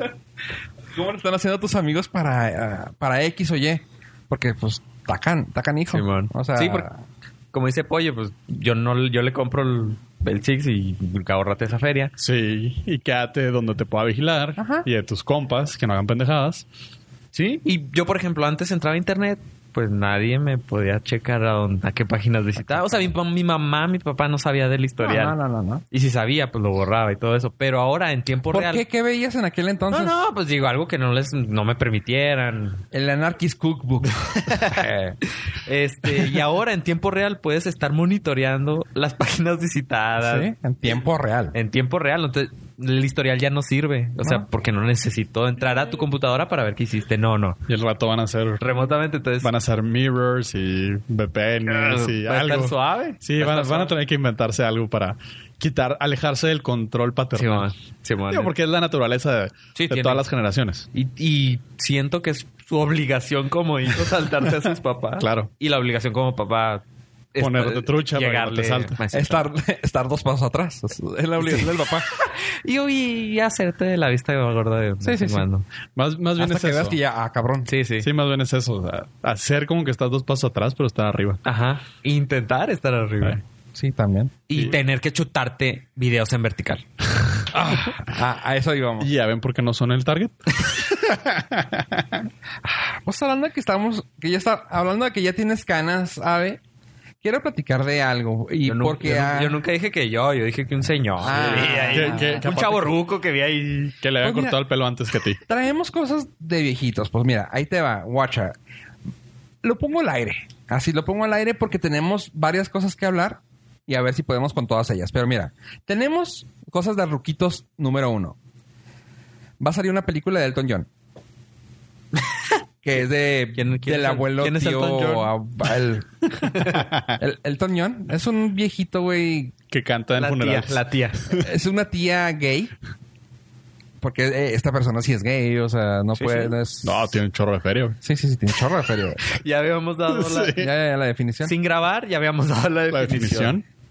[LAUGHS] ¿Cómo le están haciendo tus amigos para... ah, para X o Y? Porque, pues, tacan, tacan hijo. Simón. O sea... Sí, porque- como dice Pollo, pues yo no yo le compro el, el Six y ahorrate esa feria. Sí, y quédate donde te pueda vigilar. Ajá. Y de tus compas, que no hagan pendejadas. Sí. Y yo, por ejemplo, antes entraba a internet, pues nadie me podía checar a, dónde- a qué páginas visitaba. O sea, mi, pa- mi mamá, mi papá no sabía del historial. Ah, No, no, no, no, no. Y si sabía, pues lo borraba y todo eso. Pero ahora en tiempo ¿Por real. qué? ¿Qué veías en aquel entonces? No, no, pues digo algo que no les no me permitieran. El Anarchist Cookbook. [LAUGHS] Este, y ahora en tiempo real puedes estar monitoreando las [LAUGHS] páginas visitadas. [LAUGHS] Sí, en tiempo real. en tiempo real. Entonces, el historial ya no sirve. O sea, porque no necesito entrar a tu computadora para ver qué hiciste. No, no. Y el rato van a ser, Remotamente, entonces. van a ser mirrors y VPNs y va a estar algo. suave. Sí, Va a estar van, van a suave. tener que inventarse algo para quitar, alejarse del control paternal. Simón, Simón. Digo, porque es la naturaleza de, Sí, de tiene- todas las generaciones. y, y siento que es su obligación como hijo saltarse a sus papás. [LAUGHS] Claro. Y la obligación como papá. es- Ponerte trucha para que no te salte. más- Estar, estar dos pasos atrás. Es la obligación del papá. Y, y hacerte de la vista gorda de vez sí, en sí. cuando. Más, más bien Hasta es que veas eso. que ya, ah, cabrón. Sí, sí. Sí, más bien es eso. o sea, hacer como que estás dos pasos atrás, pero estar arriba. Ajá. Intentar estar arriba. Ay. Sí, también. Y tener que chutarte videos en vertical. Ah, a eso íbamos. Y ya ven por qué no son el target. Pues hablando de que estamos, que ya está, hablando de que ya tienes canas, Ave, Quiero platicar de algo. Y yo, nu- porque yo nu- ah, yo nunca dije que yo, yo dije que un señor. Ah, Sí, ahí, que- ahí. que- que un aparte- chaborruco que vi ahí. Que le había Pues mira- cortado el pelo antes que a ti. traemos cosas de viejitos. Pues mira, ahí te va, guacha. Lo pongo al aire. Así lo pongo al aire porque tenemos varias cosas que hablar y a ver si podemos con todas ellas. Pero mira, tenemos cosas de ruquitos número uno. Va a salir una película de Elton [LAUGHS] John. que es de ¿Quién- quién del es el- abuelo quién es tío Elton ab- [LAUGHS] el- el- Elton John es un viejito güey Que canta en La tía, funerales. la [LAUGHS] tía. es una tía gay. Porque eh, esta persona sí es gay, o sea, no puede. No, es- No, tiene un chorro de feria, güey. Sí, sí, sí, tiene un chorro de feria. güey. Ya habíamos dado la... Ya, ya, ya, la definición. Sin grabar, ya habíamos dado la La definición. definición.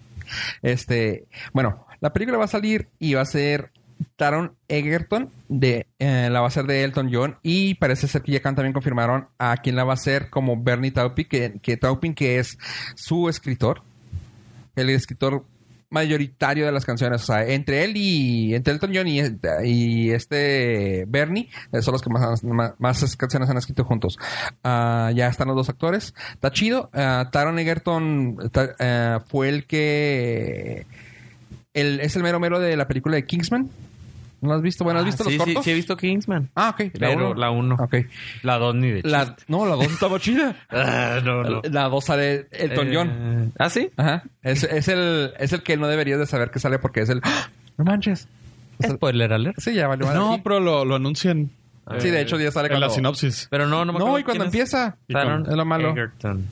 Este, bueno, la película va a salir y va a ser Taron Egerton de eh, la va a ser de Elton John y parece ser que ya can- también confirmaron a quien la va a ser como Bernie Taupin que, que Taupin que es su escritor, el escritor mayoritario de las canciones, o sea, entre él y entre Elton John y, y este Bernie eh, son los que más, más, más canciones han escrito juntos. Ah, ya están los dos actores. Está chido. Ah, Taron Egerton ta- eh, fue el que el- es el mero mero de la película de Kingsman. ¿No has visto? Bueno, ¿has Ah, visto sí, los sí, cortos? Sí, he visto Kingsman. Ah, ok. Pero uno. la uno. Ok. La dos ni de La, no, la dos estaba chida. Ah, no, no. La dos sale Elton John. Eh, ¿Ah, sí? Ajá. Es, es el, es el que no deberías de saber que sale porque es el... ¡Ah! No manches. Spoiler alert. Sí, ya valió. madre. No, Sí. pero lo, lo anuncian Sí, de hecho ya sale en la cuando... sinopsis. Pero no, no me No, acuerdo y cuando quién es. empieza... Taron Es lo malo. Egerton.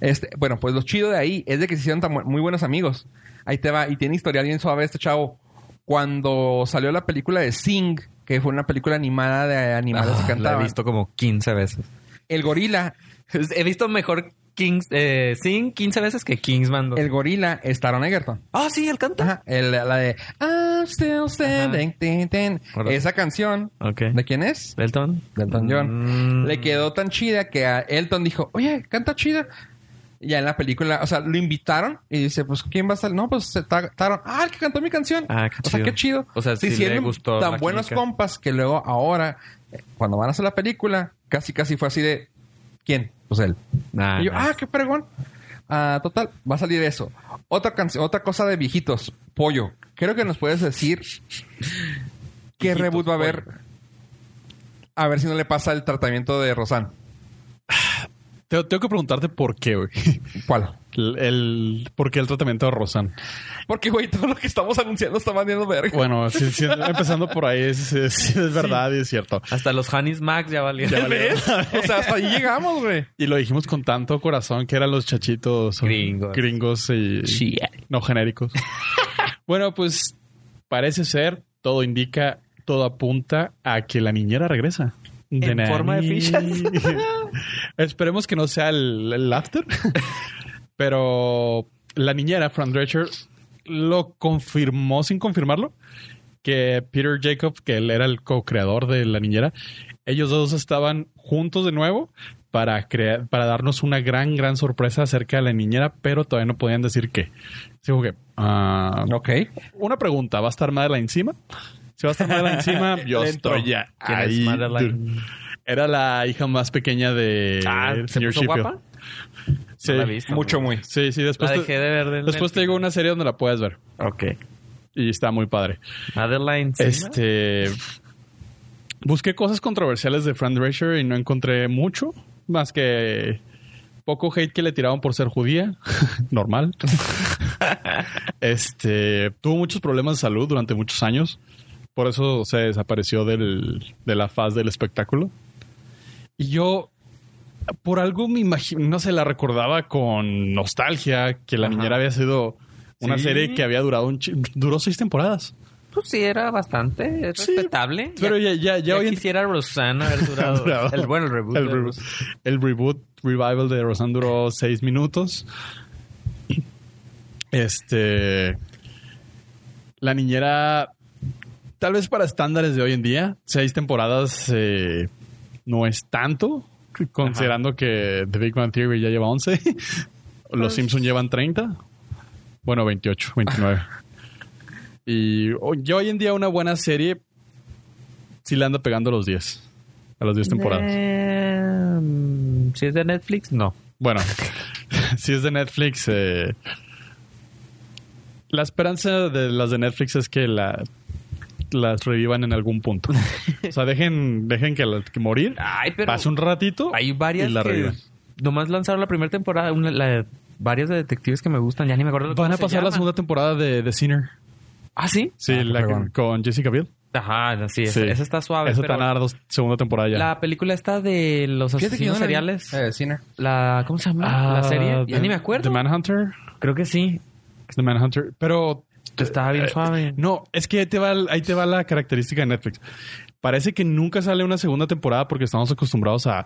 Este, bueno, pues lo chido de ahí es de que se hicieron tan bu- muy buenos amigos. Ahí te va. Y tiene historial bien suave este chavo. Cuando salió la película de Sing, que fue una película animada de animales que Ah, la cantaban. he visto como 15 veces. El gorila, He visto mejor Kings, eh, Sing 15 veces que Kingsman. dos. el gorila es Taron Egerton. Ah, sí, él canta. Ajá, el- la de "Ah, I'm still standing, tin, tin. Órale. Esa canción, Ok. ¿de quién es? Elton. De Elton John. Mm. Le quedó tan chida que a Elton dijo, oye, canta chida. Y Ya en la película, o sea, lo invitaron y dice, pues, ¿quién va a salir? No, pues, se tardaron. Ah, el que cantó mi canción. Ah, qué o sea, chido. qué chido. O sea, Se sí le hicieron gustó tan la buenos química. compas que luego ahora, eh, cuando van a hacer la película, casi, casi fue así de, ¿quién? Pues él. Ah, Y yo, nice. ah, qué pregón. Ah, total, va a salir eso. Otra canción, otra cosa de viejitos, pollo. Creo que nos puedes decir qué Viejitos, reboot va a haber. A ver si no le pasa el tratamiento de Rosan. Tengo, tengo que preguntarte por qué, güey. ¿Cuál? El, el- ¿Por qué el tratamiento de Rosan? Porque, güey, todo lo que estamos anunciando está mandiendo verga. Bueno, sí, sí, empezando por ahí, es, es- es verdad y es cierto. Hasta los Hannis Max ya valieron. Ya valió. ¿Ves? O sea, hasta [LAUGHS] ahí llegamos, güey. Y lo dijimos con tanto corazón que eran los chachitos o Gringos. gringos y no [LAUGHS] genéricos. bueno, pues parece ser, todo indica, todo apunta a que la niñera regresa. ¿En forma de fichas? [LAUGHS] Esperemos que no sea el, [LAUGHS] el after. Pero la niñera, Fran Drescher, lo confirmó sin confirmarlo. Que Peter Jacob, que él era el co-creador de La Niñera, ellos dos estaban juntos de nuevo para, crear, para darnos una gran, gran sorpresa acerca de La Niñera, pero todavía no podían decir qué. Así como que, ah, Ok. una pregunta, ¿va a estar Madeline encima? Si va a estar [LAUGHS] Madeline encima, yo Le entró. estoy ya ¿Quién es ahí. Madeline? Era la hija más pequeña de Ah, ¿se señor puso Sheffield. guapa? Sí. No la he visto. Mucho, muy. Sí, sí, después, La te, dejé de ver. del después te digo Netflix. una serie donde la puedes ver. Ok. Y está muy padre. Madeline. Este. Este. Busqué cosas controversiales de Fran Drescher y no encontré mucho, más que poco hate que le tiraban por ser judía, [LAUGHS] [LAUGHS] normal. este tuvo muchos problemas de salud durante muchos años, por eso se desapareció del- de la faz del espectáculo. Y yo por algo me imagino, no se la recordaba con nostalgia que la Ajá. niñera había sido una Sí. serie que había durado un chi- duró seis temporadas. Pues sí, era bastante es Sí, respetable. Pero ya, ya, ya, ya hoy en- quisiera Rosanna [LAUGHS] haber durado. Durado. el, bueno, el reboot. el, de reboot, Rosanna. el reboot, revival de Rosanne duró seis minutos. Este. La niñera, tal vez para estándares de hoy en día, seis temporadas eh, no es tanto, considerando que The Big Bang Theory ya lleva 11, Los Simpsons llevan 30, bueno, 28, [LAUGHS] 29. y hoy- yo hoy en día una buena serie sí le anda pegando a los 10, a las 10 temporadas. [LAUGHS] Eh, mm, si es de Netflix, no. Bueno, [LAUGHS] si es de Netflix, eh, la esperanza de las de Netflix es que la, las revivan en algún [LAUGHS] punto. O sea, dejen, dejen que, la- que morir, Ay, Ah, pero pase un ratito hay varias y la que revivan. nomás lanzaron la primera temporada, una, la- varias de detectives que me gustan, ya ni me acuerdo Van cómo a se pasar la llaman. segunda temporada de The Sinner. Ah, sí. Sí, Ah, qué la que- fregón. con Jessica Biel. Ajá, no, sí, esa, Sí. esa está suave. Eso te pero van a dar dos, segunda temporada ya. la película está de los Fíjate que yo asesinos no la vi. seriales. Eh, cine. La, ¿cómo se llama? Ah, la serie. Ya The- ni me acuerdo. The Manhunter. Creo que sí. The Manhunter. Pero eh, Estaba bien suave. No, es que ahí te va, el- ahí te va la característica de Netflix. Parece que nunca sale una segunda temporada porque estamos acostumbrados a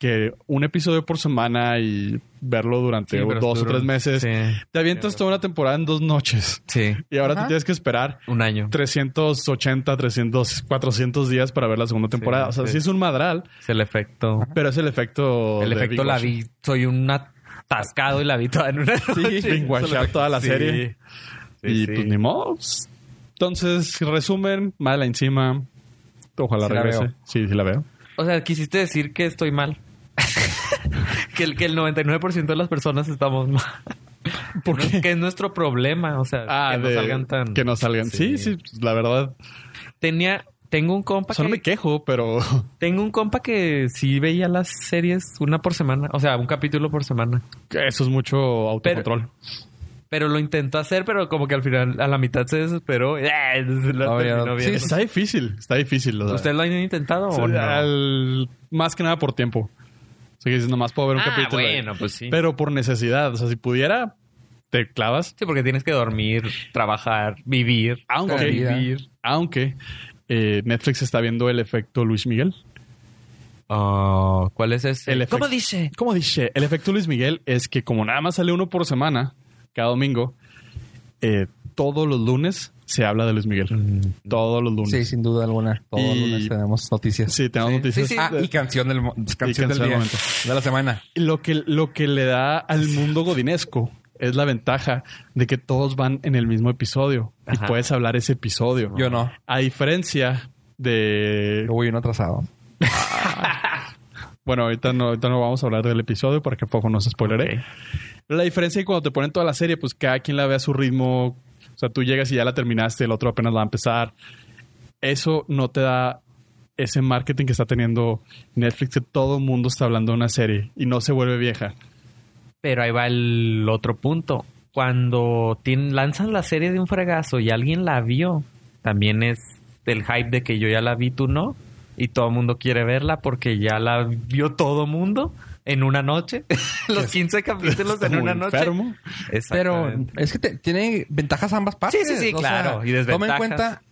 que un episodio por semana y verlo durante Sí, pero dos o duró- tres meses. Sí. Te avientas toda una temporada en dos noches Sí. y ahora Ajá. te tienes que esperar Un año. 380, 300, 400 días para ver la segunda temporada. o sea, sí. sí es un madral, Es el efecto. pero es el efecto. El de efecto binge la watch. vi. Soy un atascado y la vi toda en una noche. binge watchear toda la Sí. serie. Sí, y sí. pues ni modo. Entonces, resumen, mala encima. Ojalá Sí la regrese. veo. sí, sí la veo. O sea, quisiste decir que estoy mal. [LAUGHS] que, el, que el 99% de las personas estamos mal. ¿Por No, qué? Que es nuestro problema. O sea, Ah, que no de- salgan tan. Que no salgan. Sí, sí, pues, la verdad. Tenía. Tengo un compa Solo que. me quejo, pero [LAUGHS] Tengo un compa que sí veía las series una por semana. O sea, un capítulo por semana. eso es mucho autocontrol. Pero lo intentó hacer, pero como que al final, a la mitad se desesperó. [LAUGHS] ¡Eh! Entonces la Obvio. terminó Sí, Sí, viendo. está difícil, está difícil. o sea, ¿Ustedes lo han intentado sí, o no? al- más que nada por tiempo. O sea, que dices, nomás puedo ver un ah, capítulo. bueno, pues sí. Pero por necesidad. O sea, si pudiera, te clavas. sí, porque tienes que dormir, trabajar, vivir. Aunque, Comida. aunque eh, Netflix está viendo el efecto Luis Miguel. Ah, ¿Cuál es ese? El efecto- ¿Cómo dice? Como dice, el efecto Luis Miguel es que como nada más sale uno por semana, cada domingo, eh, todos los lunes se habla de Luis Miguel. Todos los lunes. Mm. Sí, sin duda alguna. Todos los Y- lunes tenemos noticias. Sí, tenemos noticias. sí. Ah, y canción del, mo- canción canción del del día. momento. De la semana. Lo que, lo que le da al mundo godinesco es la ventaja de que todos van en el mismo episodio Ajá. y puedes hablar ese episodio. Yo no. A diferencia de... Yo voy uno atrasado. Bueno, ahorita no, ahorita no vamos a hablar del episodio para que poco nos spoileré. La diferencia es que cuando te ponen toda la serie, pues cada quien la ve a su ritmo. O sea, tú llegas y ya la terminaste, el otro apenas la va a empezar. Eso no te da ese marketing que está teniendo Netflix, que todo el mundo está hablando de una serie y no se vuelve vieja. Pero ahí va el otro punto. Cuando tien- lanzan la serie de un fregazo y alguien la vio, también es el hype de que yo ya la vi, tú no. Y todo el mundo quiere verla porque ya la vio todo mundo en una noche. [LAUGHS] Los 15 capítulos en Muy una noche. enfermo. Pero Exactamente. es que te- tiene ventajas ambas partes. Sí, sí, sí, O sea, claro. Y desventajas. Toma en cuenta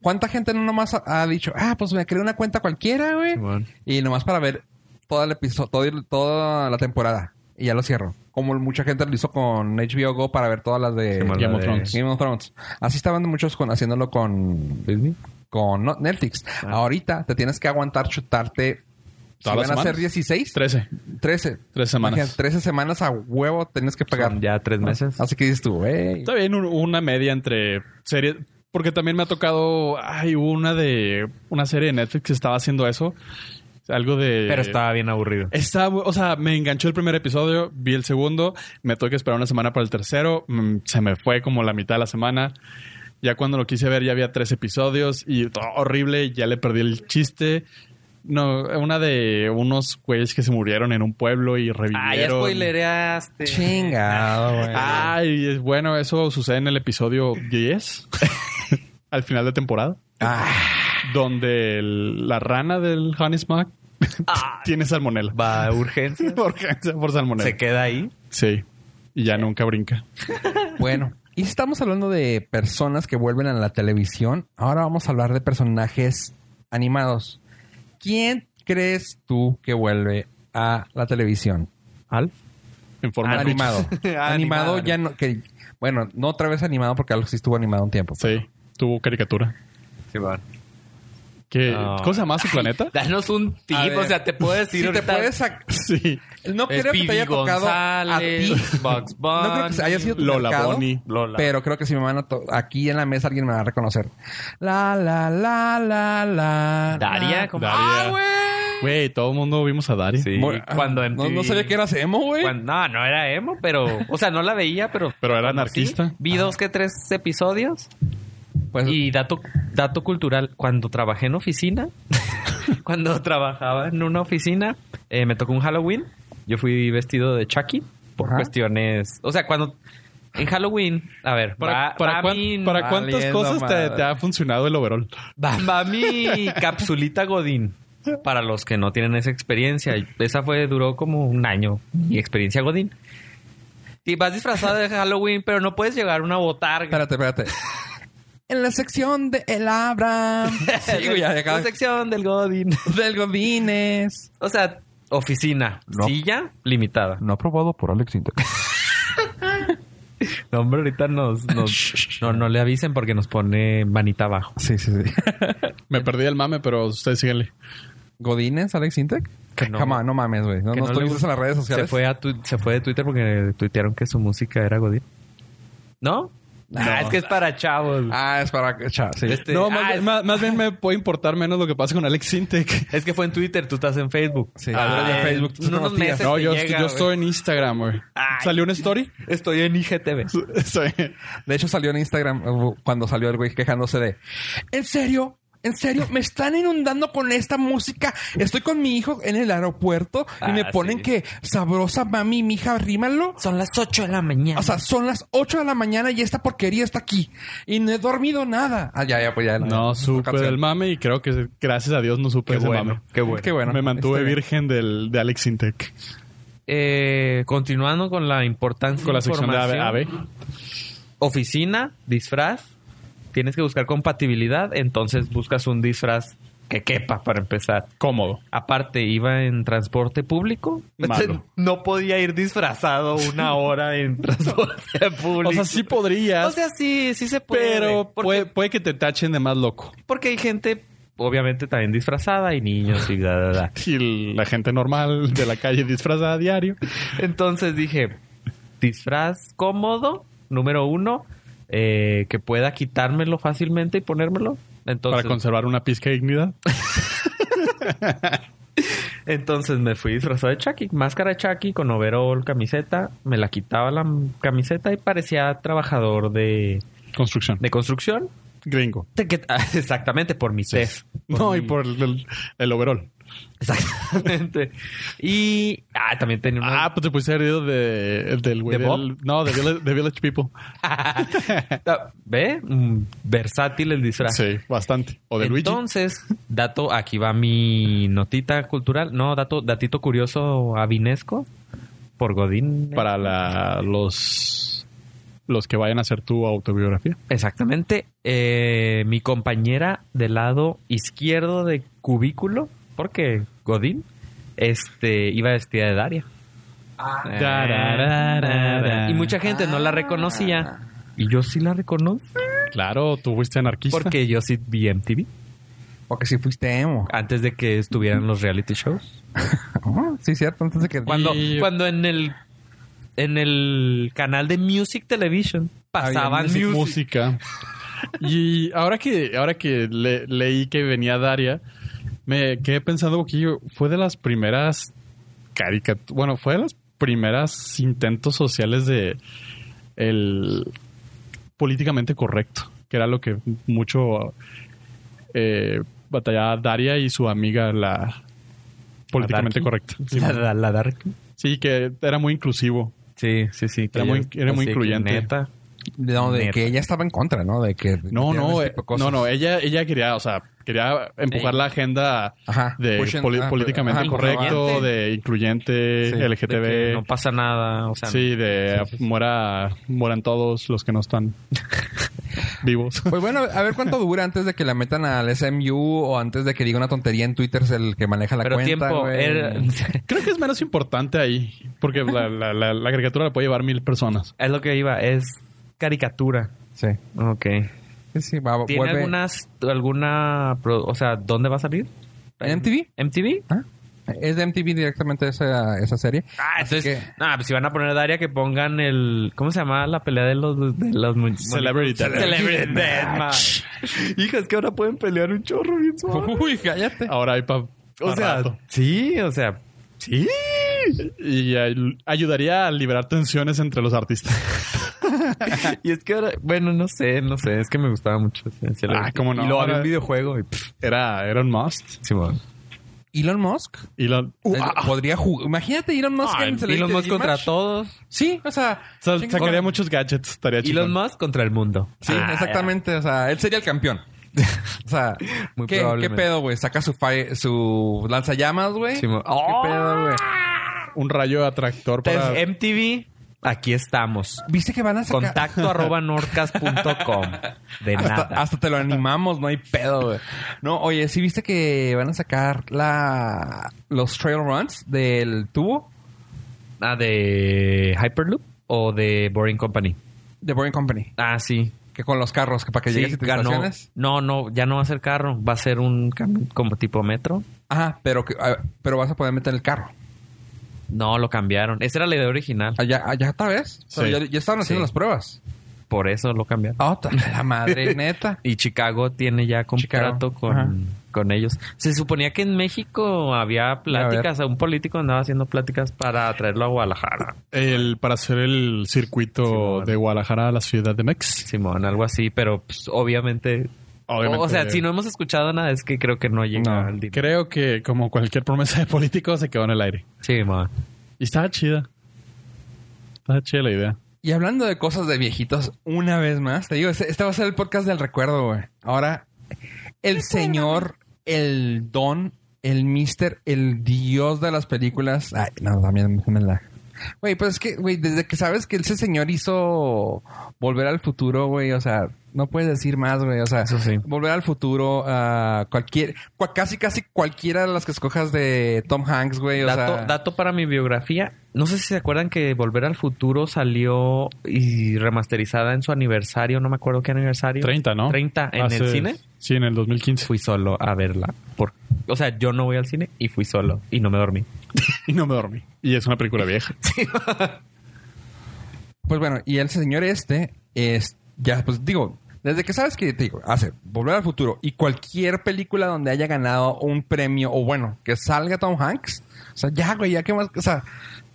cuánta gente no nomás ha- ha dicho, ah, pues me creé una cuenta cualquiera, güey. Simón. Y nomás para ver todo el episodio, todo el- toda la temporada. Y ya lo cierro. Como mucha gente lo hizo con HBO Go para ver todas las de Simón, Game la of de- Thrones. Game of Thrones. Así estaban muchos con, haciéndolo con, con no- Netflix. Ahorita te tienes que aguantar chutarte. Si Ah. Todas las van a ser semanas. 16, 13. 13. Tres semanas. Imagínate, 13 semanas a huevo tienes que pegar. Son ya tres meses. Ah, Así que dices tú, güey. Está bien un- una media entre series. Porque también me ha tocado. Hay una de. Una serie de Netflix que estaba haciendo eso. Algo de. Pero estaba bien aburrido. Está, o sea, me enganchó el primer episodio, vi el segundo, me tuve que esperar una semana para el tercero, mm, se me fue como la mitad de la semana. Ya cuando lo quise ver ya había tres episodios y todo horrible, ya le perdí el chiste. No, una de unos güeyes que se murieron en un pueblo y revivieron. Ah, ya spoilereaste. Chingado, güey. Ah. Ay, es- bueno, eso sucede en el episodio 10, [LAUGHS] al final de temporada, Ah, donde el- la rana del Honey Smack [LAUGHS] tiene salmonela. Va a urgencia. [LAUGHS] Por, cáncer, por salmonela. Se queda ahí. Sí. Y ya nunca brinca. bueno, y si estamos hablando de personas que vuelven a la televisión, ahora vamos a hablar de personajes animados. ¿Quién crees tú que vuelve a la televisión? Al. En forma de animado. [LAUGHS] animado. Ah, animado, ya no que bueno, no otra vez animado porque algo sí estuvo animado un tiempo. Sí. Tuvo caricatura. Sí, va. ¿Qué, Ah. ¿Cómo se llama su planeta? Danos un tip, A ver. o sea, te puedo decir Si te ahorita- puedes sac- [LAUGHS] Sí. no creo que te Speedy haya tocado a ti. González, Bugs [LAUGHS] No creo que se haya sido tu Lola mercado, Bunny. Lola. Pero creo que si me van a to- aquí en la mesa alguien me va a reconocer. La la la la la. Daria, la. ¿cómo? Daria. ¡Ah, güey! Güey, todo el mundo vimos a Dari. Sí. Mo- Cuando no, MTV no sabía que eras emo, güey. Cuando- no, no era emo, pero. O sea, no la veía, pero. Pero era cuando sí, anarquista. vi Ah. dos que tres episodios. Pues, Y dato, dato cultural, cuando trabajé en oficina, [LAUGHS] cuando trabajaba en una oficina, eh, me tocó un Halloween. Yo fui vestido de Chucky por Ajá. cuestiones. O sea, cuando. En Halloween, a ver, ¿Para, va- para va cuán- mi- para cuántas valiendo cosas te, madre. te ha funcionado el overall? Va, va mi capsulita Godín. Para los que no tienen esa experiencia, esa fue duró como un año mi experiencia Godín. Y vas disfrazado de Halloween, pero no puedes llegar a una botarga. espérate, espérate. en la sección de [LAUGHS] El Abram. sí, güey, ya, ya La acabas- sección del Godín. Del Godines. O sea, oficina, No. silla limitada. No aprobado por Alex Inter. No, hombre, ahorita nos, [LAUGHS] nos- no, no le avisen porque nos pone manita abajo. Sí, sí, sí. Me perdí el mame, pero ustedes síguenle. ¿Godines, Alex Intec? Que no. Jamás, no mames, güey. No, Que no no le estuviste gusta. en las redes Se sociales. fue, a tu- se fue de Twitter porque tuitearon que su música era Godín. ¿No? Ah, es que es para chavos. Ah, es para... Cha, sí. Este- no, ah, más, es- más- más bien me puede importar menos lo que pasa con Alex Sintek. Es que fue en Twitter, tú estás en Facebook. Sí. Ah, Yo en en Facebook, tú en unos no tías. meses No, te yo, llega, yo güey. estoy en Instagram, güey. Ay. ¿Salió una [LAUGHS] story? Estoy en IGTV. [LAUGHS] Estoy- De hecho, salió en Instagram uh, cuando salió el güey quejándose de... ¿En serio? ¿En serio? ¿Me están inundando con esta música? Estoy con mi hijo en el aeropuerto y Ah, me ponen sí. que... Sabrosa, mami, mija, rímalo. Son las 8 de la mañana. O sea, son las 8 de la mañana y esta porquería está aquí. Y no he dormido nada. Ah, ya, ya, pues ya. No, supe canción. del mame y creo que gracias a Dios no supe qué ese bueno, mame. qué bueno. Qué bueno. Me mantuve Está bien. virgen del, de Alex Intec. Eh, continuando con la importancia Con la de sección de AB. información. Oficina, disfraz. Tienes que buscar compatibilidad, entonces buscas un disfraz que quepa para empezar. Cómodo. Aparte, iba en transporte público. Malo. Entonces, No podía ir disfrazado una hora [LAUGHS] en transporte público. O sea, sí podrías, O sea, sí, sí se puede. pero Porque- puede, puede que te tachen de más loco. Porque hay gente, obviamente, también disfrazada y niños y da, da, da. Y la gente normal de la calle disfrazada a diario. [LAUGHS] Entonces dije, disfraz cómodo, número uno, eh, que pueda quitármelo fácilmente y ponérmelo. Entonces, para conservar una pizca de dignidad. entonces me fui disfrazado de Chucky, máscara de Chucky con overol, camiseta. Me la quitaba la m- camiseta y parecía trabajador de, Construcción. de construcción. Gringo. Te que- ah, [LAUGHS] Exactamente, por mi test. No, y por el, el overall. [LAUGHS] Exactamente. Y ah, también tenía una... Ah, pues te pusiste herido de, del güey. ¿De del- No, de Village, de Village People. Ah, ¿Ve? Mm, Versátil el disfraz. Sí, bastante. O de Luigi. Entonces, dato, aquí va mi notita cultural. No, dato, datito curioso avinesco por Godín. Para la, los, los que vayan a hacer tu autobiografía. Exactamente. Eh, mi compañera del lado izquierdo de cubículo, porque Godín, este, iba vestida de Daria. Ah, Tarararara. Y mucha gente no la reconocía. Y yo sí la reconozco Claro, tú fuiste anarquista. porque yo sí vi MTV Porque si fuiste emo. antes de que estuvieran los reality shows. Ah, sí, cierto. Antes de que... Cuando, Y- cuando en el en el canal de Music Television pasaban Había music. música. Y ahora que, ahora que le- leí que venía Daria, me quedé pensando un poquillo. Fue de las primeras caricaturas. Bueno, fue de las primeras intentos sociales de el políticamente correcto, que era lo que mucho eh, batallaba Daria y su amiga, la políticamente Darky. correcta. Sí, La, la- la dark. sí, que era muy inclusivo. Sí, sí, sí. Era muy- era muy sí, que incluyente. neta. No, de Neta. que ella estaba en contra, Pues ¿no? De que... No, metieran ese no, eh, tipo de cosas. no, no, ella, ella quería, o sea, quería empujar la agenda Ajá. de Pushing- poli- ah, políticamente ajá, correcto, incluyente. de incluyente, Sí, de De que LGTB, no pasa nada. O sea, sí, de muera, mueran todos los que no están vivos. Pues bueno, a ver cuánto dura antes de que la metan al SMU o antes de que diga una tontería en Twitter es el que maneja la pero cuenta. tiempo. güey. era- [LAUGHS] Creo que es menos importante ahí, porque la, la, la, la caricatura la puede llevar mil personas. es lo que iba. Es caricatura. Sí. Ok. Sí, sí, va, ¿Tiene vuelve. algunas, alguna... pro- O sea, ¿dónde va a salir? ¿En MTV? ¿MTV? Ah, Es de MTV directamente esa, esa serie. Ah, Así entonces... que- Ah, pues si van a poner Daria que pongan el... ¿Cómo se llama la pelea de los... De los mu- Celebrity [LAUGHS] Death. Celebrity Deathmatch. Hijas que ahora pueden pelear un chorro bien suave. [LAUGHS] Uy, cállate. Oh. Ahora hay para O Al sea, rato. sí, o sea, sí. Y ay- ayudaría a liberar tensiones entre los artistas. [LAUGHS] y es que ahora, bueno, no sé, no sé, es que me gustaba mucho. o sea, sí lo- Ah, cómo no, Y lo había ahora- un videojuego y pff, Era, era un must. Simón. Elon Musk. Y la- eh, Podría jugar. Imagínate Elon Musk Ah, en Elon Celeste Musk Image. contra todos. Sí, o sea. sa- chinga. sacaría muchos gadgets. Estaría chido. Elon Musk contra el mundo. Sí, Ah, exactamente. O sea, él sería el campeón. O sea, Muy ¿qué, ¿qué probablemente. pedo, güey? Saca su, fire- su lanzallamas, güey. Simón. ¿Qué pedo, güey? Un rayo atractor para... Oh. Entonces, MTV, aquí estamos. ¿Viste que van a sacar? Contacto arroba norcas.com. De Hasta, nada. hasta te lo animamos, no hay pedo, güey. No, oye, ¿sí viste que van a sacar la los trail runs del tubo Ah, de Hyperloop o de Boring Company. de Boring Company? Ah, sí. Que con los carros, que para que Sí, llegues a tus ganó. estaciones. No, no, ya no va a ser carro. Va a ser un cam- como tipo metro. Ajá, pero, que, ah, pero vas a poder meter el carro. No, lo cambiaron. Esa era la idea original. Allá, allá otra vez. O sea, Sí. ya, ya estaban haciendo Sí. las pruebas. Por eso lo cambiaron. Ah, otra- la madre neta. [LAUGHS] Y Chicago tiene ya contrato Chicago, ajá. con, con ellos. Se suponía que en México había pláticas, un político andaba haciendo pláticas para traerlo a Guadalajara, el, para hacer el circuito Simón. de Guadalajara a la ciudad de Mex. Simón, algo así, pero pues, obviamente, Obviamente. O sea, si no hemos escuchado nada, es que creo que no llega No, al dinero. Creo que como cualquier promesa de político se quedó en el aire. Simón. Y estaba chida. Estaba chida la idea. Y hablando de cosas de viejitos, una vez más, te digo, este, este va a ser el podcast del recuerdo, güey. Ahora, el señor, el don, el mister, el dios de las películas. Ay, no, también me la. Güey, pues es que, güey, desde que sabes que ese señor hizo Volver al Futuro, güey, o sea, no puedes decir más, güey, o sea, Eso sí. Volver al Futuro, ah, cualquier, cua- casi, casi cualquiera de las que escojas de Tom Hanks, güey, o Dato, sea. dato para mi biografía. No sé si se acuerdan que Volver al Futuro salió y remasterizada en su aniversario, no me acuerdo qué aniversario. 30, ¿no? 30 en Hace- el cine. Sí, en el 2015. Fui solo a verla. Por, o sea, yo no voy al cine y fui solo y no me dormí. [LAUGHS] Y no me dormí. Y es una película vieja. Pues bueno, y el señor este es ya pues digo, desde que sabes que te digo, hace Volver al Futuro y cualquier película donde haya ganado un premio o bueno, que salga Tom Hanks, o sea, ya güey, ya que más, o sea,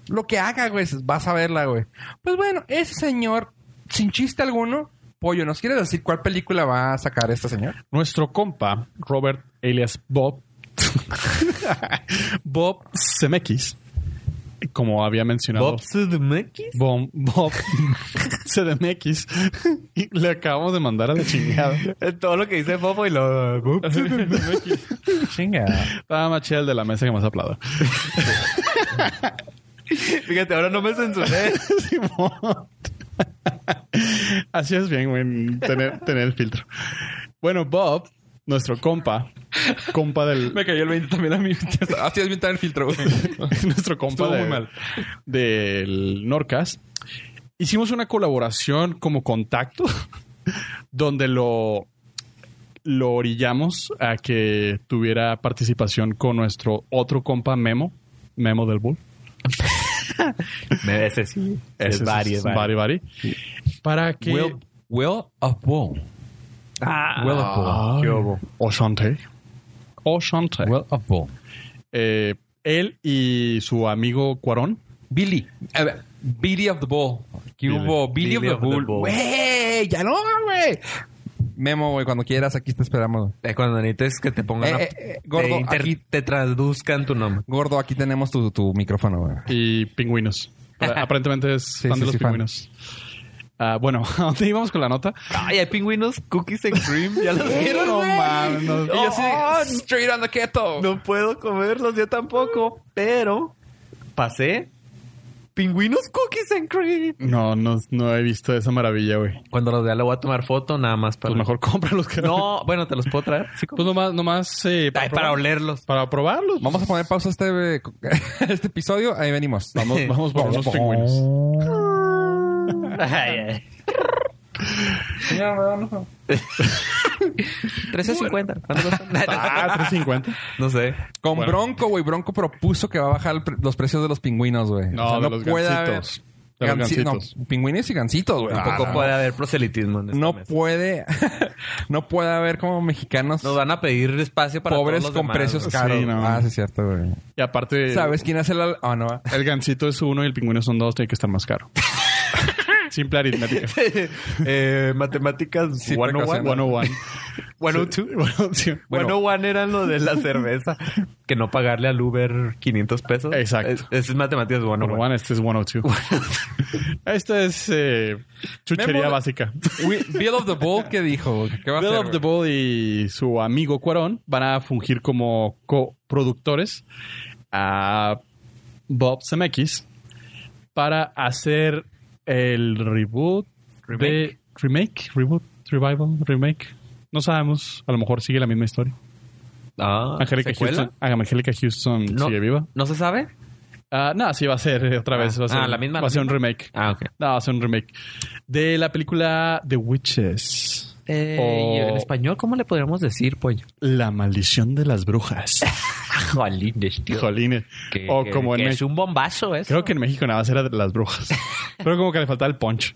lo que haga, güey, vas a verla, güey. Pues bueno, ese señor sin chiste alguno, pollo, ¿nos quiere decir cuál película va a sacar este señor? Nuestro compa, Robert alias Bob, [LAUGHS] Bob Zemeckis, como había mencionado, Bob Zemeckis. Bom- Bob [LAUGHS] Zemeckis, Y le acabamos de mandar a la chingada. Todo lo que dice Bobo y lo... Bob Zemeckis. Estaba más chida el de la mesa que más aplaudo. [LAUGHS] Fíjate, ahora no me censuré. Simón. Así es bien, güey, tener, tener el filtro. Bueno, Bob, nuestro compa, compa del, cayó el 20 también a mí. [LAUGHS] Así es bien tan el filtro, [LAUGHS] güey. [LAUGHS] nuestro compa Estuvo de- muy mal. del Norcas. Hicimos una colaboración como contacto [LAUGHS] donde lo, lo orillamos a que tuviera participación con nuestro otro compa Memo, Memo del Bull. me ese sí. Ese es- varios, Bari, Bari. Para que... Will Will of Woe. Ah. Will of Woe. Ay, Oshante. Oshante. ah, Will of Woe. Eh, él y su amigo Cuarón. Billy. A ver, Billy of the Ball. ¿Qué Billy. hubo? Billy, Billy of the of the Bull. Ball. ¡Wey! ¡Ya no, güey! Memo, güey, cuando quieras, aquí te esperamos. Es Eh, cuando necesites que te pongan... Eh, a- eh, eh, gordo, te, inter- aquí- te traduzcan tu nombre. Gordo, aquí tenemos tu, tu micrófono, güey. y pingüinos. [LAUGHS] Pero Aparentemente es fan sí, de los sí, fan. pingüinos. Ah, bueno, [LAUGHS] ¿a dónde íbamos con la nota? Ay, hay pingüinos, cookies and cream. Ya ¡Eh, los vieron. No güey. mames, no. Y yo así, Oh, Ah, straight on the keto. No puedo comerlos yo tampoco, pero pasé pingüinos cookies and cream. No, no, no he visto esa maravilla, güey. Cuando los vea le voy a tomar foto nada más para Pues mejor [LAUGHS] compra los [LAUGHS] que No, bueno, te los puedo traer. Sí, Pues nomás, nomás eh, Ay, para probar- [LAUGHS] olerlos. Para probarlos. Vamos a poner pausa este, [LAUGHS] eh, este episodio. Ahí venimos. [LAUGHS] Vamos, [LAUGHS] vamos por unos pingüinos. Ay, ay. 1350. ¿Cuánto cuesta? Ah, 350. No sé. Con Bueno. Bronco, güey. Bronco propuso que va a bajar el pre- los precios de los pingüinos, güey. No, de los gansitos. De los Gansi- gansitos. no, pingüinos y gansitos, güey. Tampoco Ah, puede haber proselitismo en esta No pues, mesa. puede, [LAUGHS] no puede haber como mexicanos Nos van a pedir espacio para pobres todos los con demás, [LAUGHS] precios güey. caros. Sí, no. Ah, sí, es cierto, güey. Y aparte, ¿Sabes quién hace la.? Ah, [LAUGHS] no. ah. el gansito es uno y el pingüino son dos, tiene que estar más [LAUGHS] caro. Simple aritmética. Eh, matemáticas Sí, 101. precaución. 101. 102. Bueno, sí. Bueno, oh Bueno, one era lo de la cerveza. que no pagarle al Uber 500 pesos. Exacto. Es, es matemáticas oh bueno, 101, este es [LAUGHS] 102. Esta es eh, chuchería Memo- básica. Uy, Bill of the Bull, ¿qué dijo? güey? ¿Qué va a Bill hacer? of the güey? Bull y su amigo Cuarón van a fungir como coproductores a Bob Zemeckis para hacer el reboot de remake, reboot, revival, remake. No sabemos, a lo mejor sigue la misma historia. Ah, Angélica ¿secuela? Houston, ah, Angélica Houston No. sigue viva. ¿No se sabe? Ah, no, sí va a ser eh, otra vez, va a Ah, ser, la misma, va a la ser un remake. Ah, ok. No, va a ser un remake de la película The Witches. Eh, O- ¿y ¿En español cómo le podríamos decir, pollo? La maldición de [LAUGHS] las brujas. Jolines, tío. Jolines. Que- O que- como en que México. es un bombazo eso. Creo que en México nada más era de [LAUGHS] las brujas. Pero como que le faltaba el punch.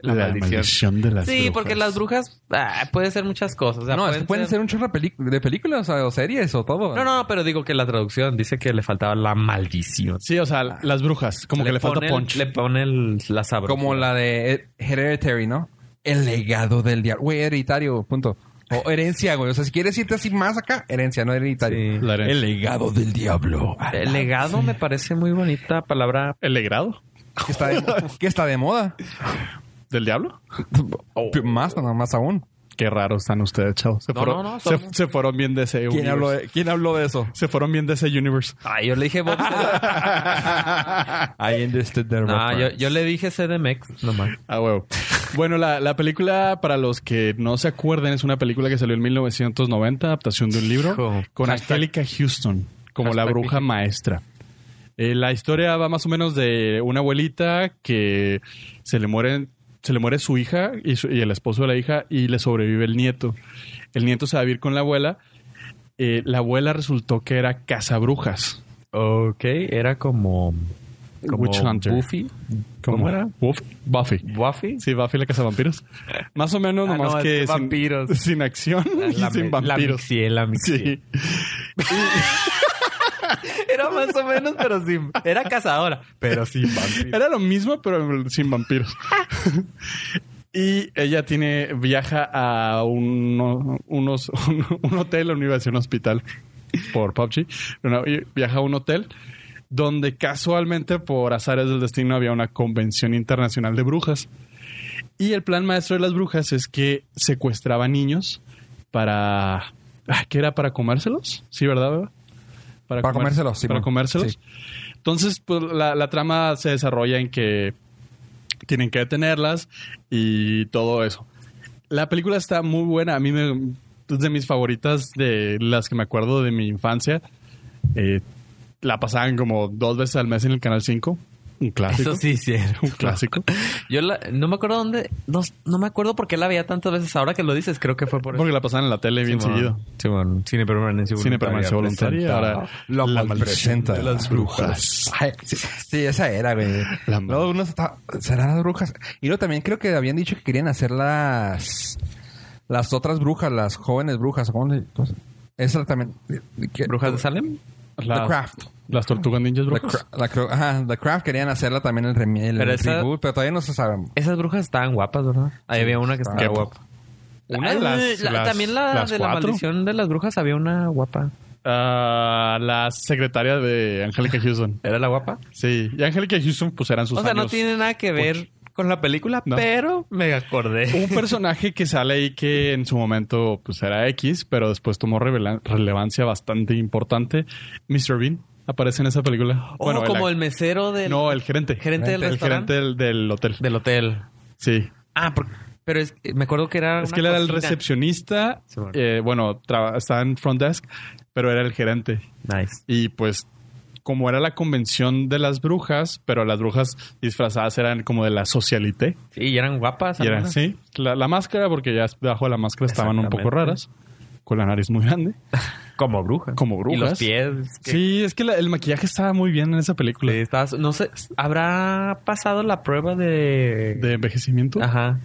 La maldición. de las Sí, porque las brujas ah, puede ser muchas cosas. O sea, No, es que pueden ser, un chorro de pelic- de películas o series o todo. No, no, no, pero digo que la traducción dice que le faltaba la maldición. Sí, o sea, las brujas. Como que le falta pone el- punch. Ah. Le pone el- la sabrosura. Como la de Hereditary, ¿no? El legado del diablo. Güey, hereditario, punto. O herencia, güey. O sea, si quieres irte así más acá, herencia, no hereditario. Sí. La herencia. El legado del diablo. El Eh, legado me parece muy bonita palabra. ¿El legrado? Ah, Que está de, que está de moda. ¿Del diablo? P- Más, no, más aún. Qué raros están ustedes, chavos. Se, No, no, fueron, no, se- son- se fueron bien de ese universe. de, ¿Quién habló de eso? Se fueron bien de ese universe. Ah, yo le dije Bob [LAUGHS] Sedemex. I understood the No, yo, reference. yo le dije CDMX nomás. Ah, huevo. Bueno, la, la película, para los que no se acuerden, es una película que salió en 1990, adaptación de un libro, Hijo. con Angélica Houston como la Hashtag bruja maestra. Eh, la historia va más o menos de una abuelita que se le mueren se le muere su hija y, su- y el esposo de la hija y le sobrevive el nieto. El nieto se va a vivir con la abuela. Eh, la abuela resultó que era cazabrujas. Ok, era como. como Witch Hunter. Buffy. ¿Cómo, Como era? Buff- Buffy. Buffy. Sí, Buffy la cazavampiros. Más o menos, Ah, nomás no, es que que sin, vampiros. [LAUGHS] sin acción y La, [LAUGHS] la sin vampiros. mixiel, la mixiel. Sí. Era más o menos, pero sin. Era cazadora, pero sin vampiros. Era lo mismo, pero sin vampiros. [LAUGHS] y ella tiene, viaja a uno- unos, [LAUGHS] un, un hotel, una universidad, un hospital por PUBG. Una- y viaja a un hotel donde casualmente, por azares del destino, había una convención internacional de brujas. Y el plan maestro de las brujas es que secuestraba niños para... ah, ¿Qué era? ¿Para comérselos? Sí, ¿verdad, beba? Para comer- comérselos, sí, Para man. comérselos. Sí. Entonces, pues, la, la trama se desarrolla en que tienen que detenerlas y todo eso. La película está muy buena. A mí me, es de mis favoritas, de las que me acuerdo de mi infancia. Eh, la pasaban como dos veces al mes en el Canal 5. Un clásico. Eso sí, sí. era. [LAUGHS] Un clásico. Yo la- no me acuerdo dónde. No, no me acuerdo por qué la veía tantas veces. Ahora que lo dices, creo que fue por eso. Porque la pasaban en la tele bien Simón. seguido. Simón. Cine permanencia voluntaria. Cine permanencia voluntaria. Ahora, Lo la maldición presenta de las brujas. Ay, sí, sí, esa era, güey. La- Luego uno está- será las brujas. Y luego también creo que habían dicho que querían hacer las las otras brujas, las jóvenes brujas. ¿Cómo le- cómo se- Pues, Esa también. que- ¿Brujas de Salem? La- The Craft. Las tortugas ninjas The, brujas. Cra- la Cro- ajá, The Craft querían hacerla también el, remi- el Pero esa- reboot, pero todavía no se sabe. Esas brujas estaban guapas, ¿verdad? Ahí había una que estaba Qué guapa. Una Ah, de las- la- las- también la las de la cuatro. maldición de las brujas había una guapa. Ah, la secretaria de Angélica Houston. ¿Era la guapa? Sí, y Angélica Houston pues eran sus o sea, no años. tiene nada que ver con la película, No. Uh, pero me acordé. Un personaje que sale ahí que en su momento pues era X, pero después tomó revela- relevancia bastante importante. Mr. Bean aparece en esa película. Ojo, Bueno, como el, el, mesero del, No, Oh, el gerente. gerente del el restaurante. gerente del, del hotel. del hotel. Sí. Ah, por- pero es- me acuerdo que era. Es una que él era el cocina. recepcionista. Sí, bueno. eh, bueno, traba- estaba en front desk, pero era el gerente. Nice. Y pues, como era la convención de las brujas, pero las brujas disfrazadas eran como de la socialité. Sí, y eran guapas. Y era algunas. así. La, la máscara, porque ya debajo de la máscara estaban un poco Exactamente. raras, con la nariz muy grande. Como bruja. Como brujas. Y los pies. que- Sí, es que la- el maquillaje estaba muy bien en esa película. Sí, estabas- no sé, ¿habrá pasado la prueba de...? De envejecimiento, Ajá.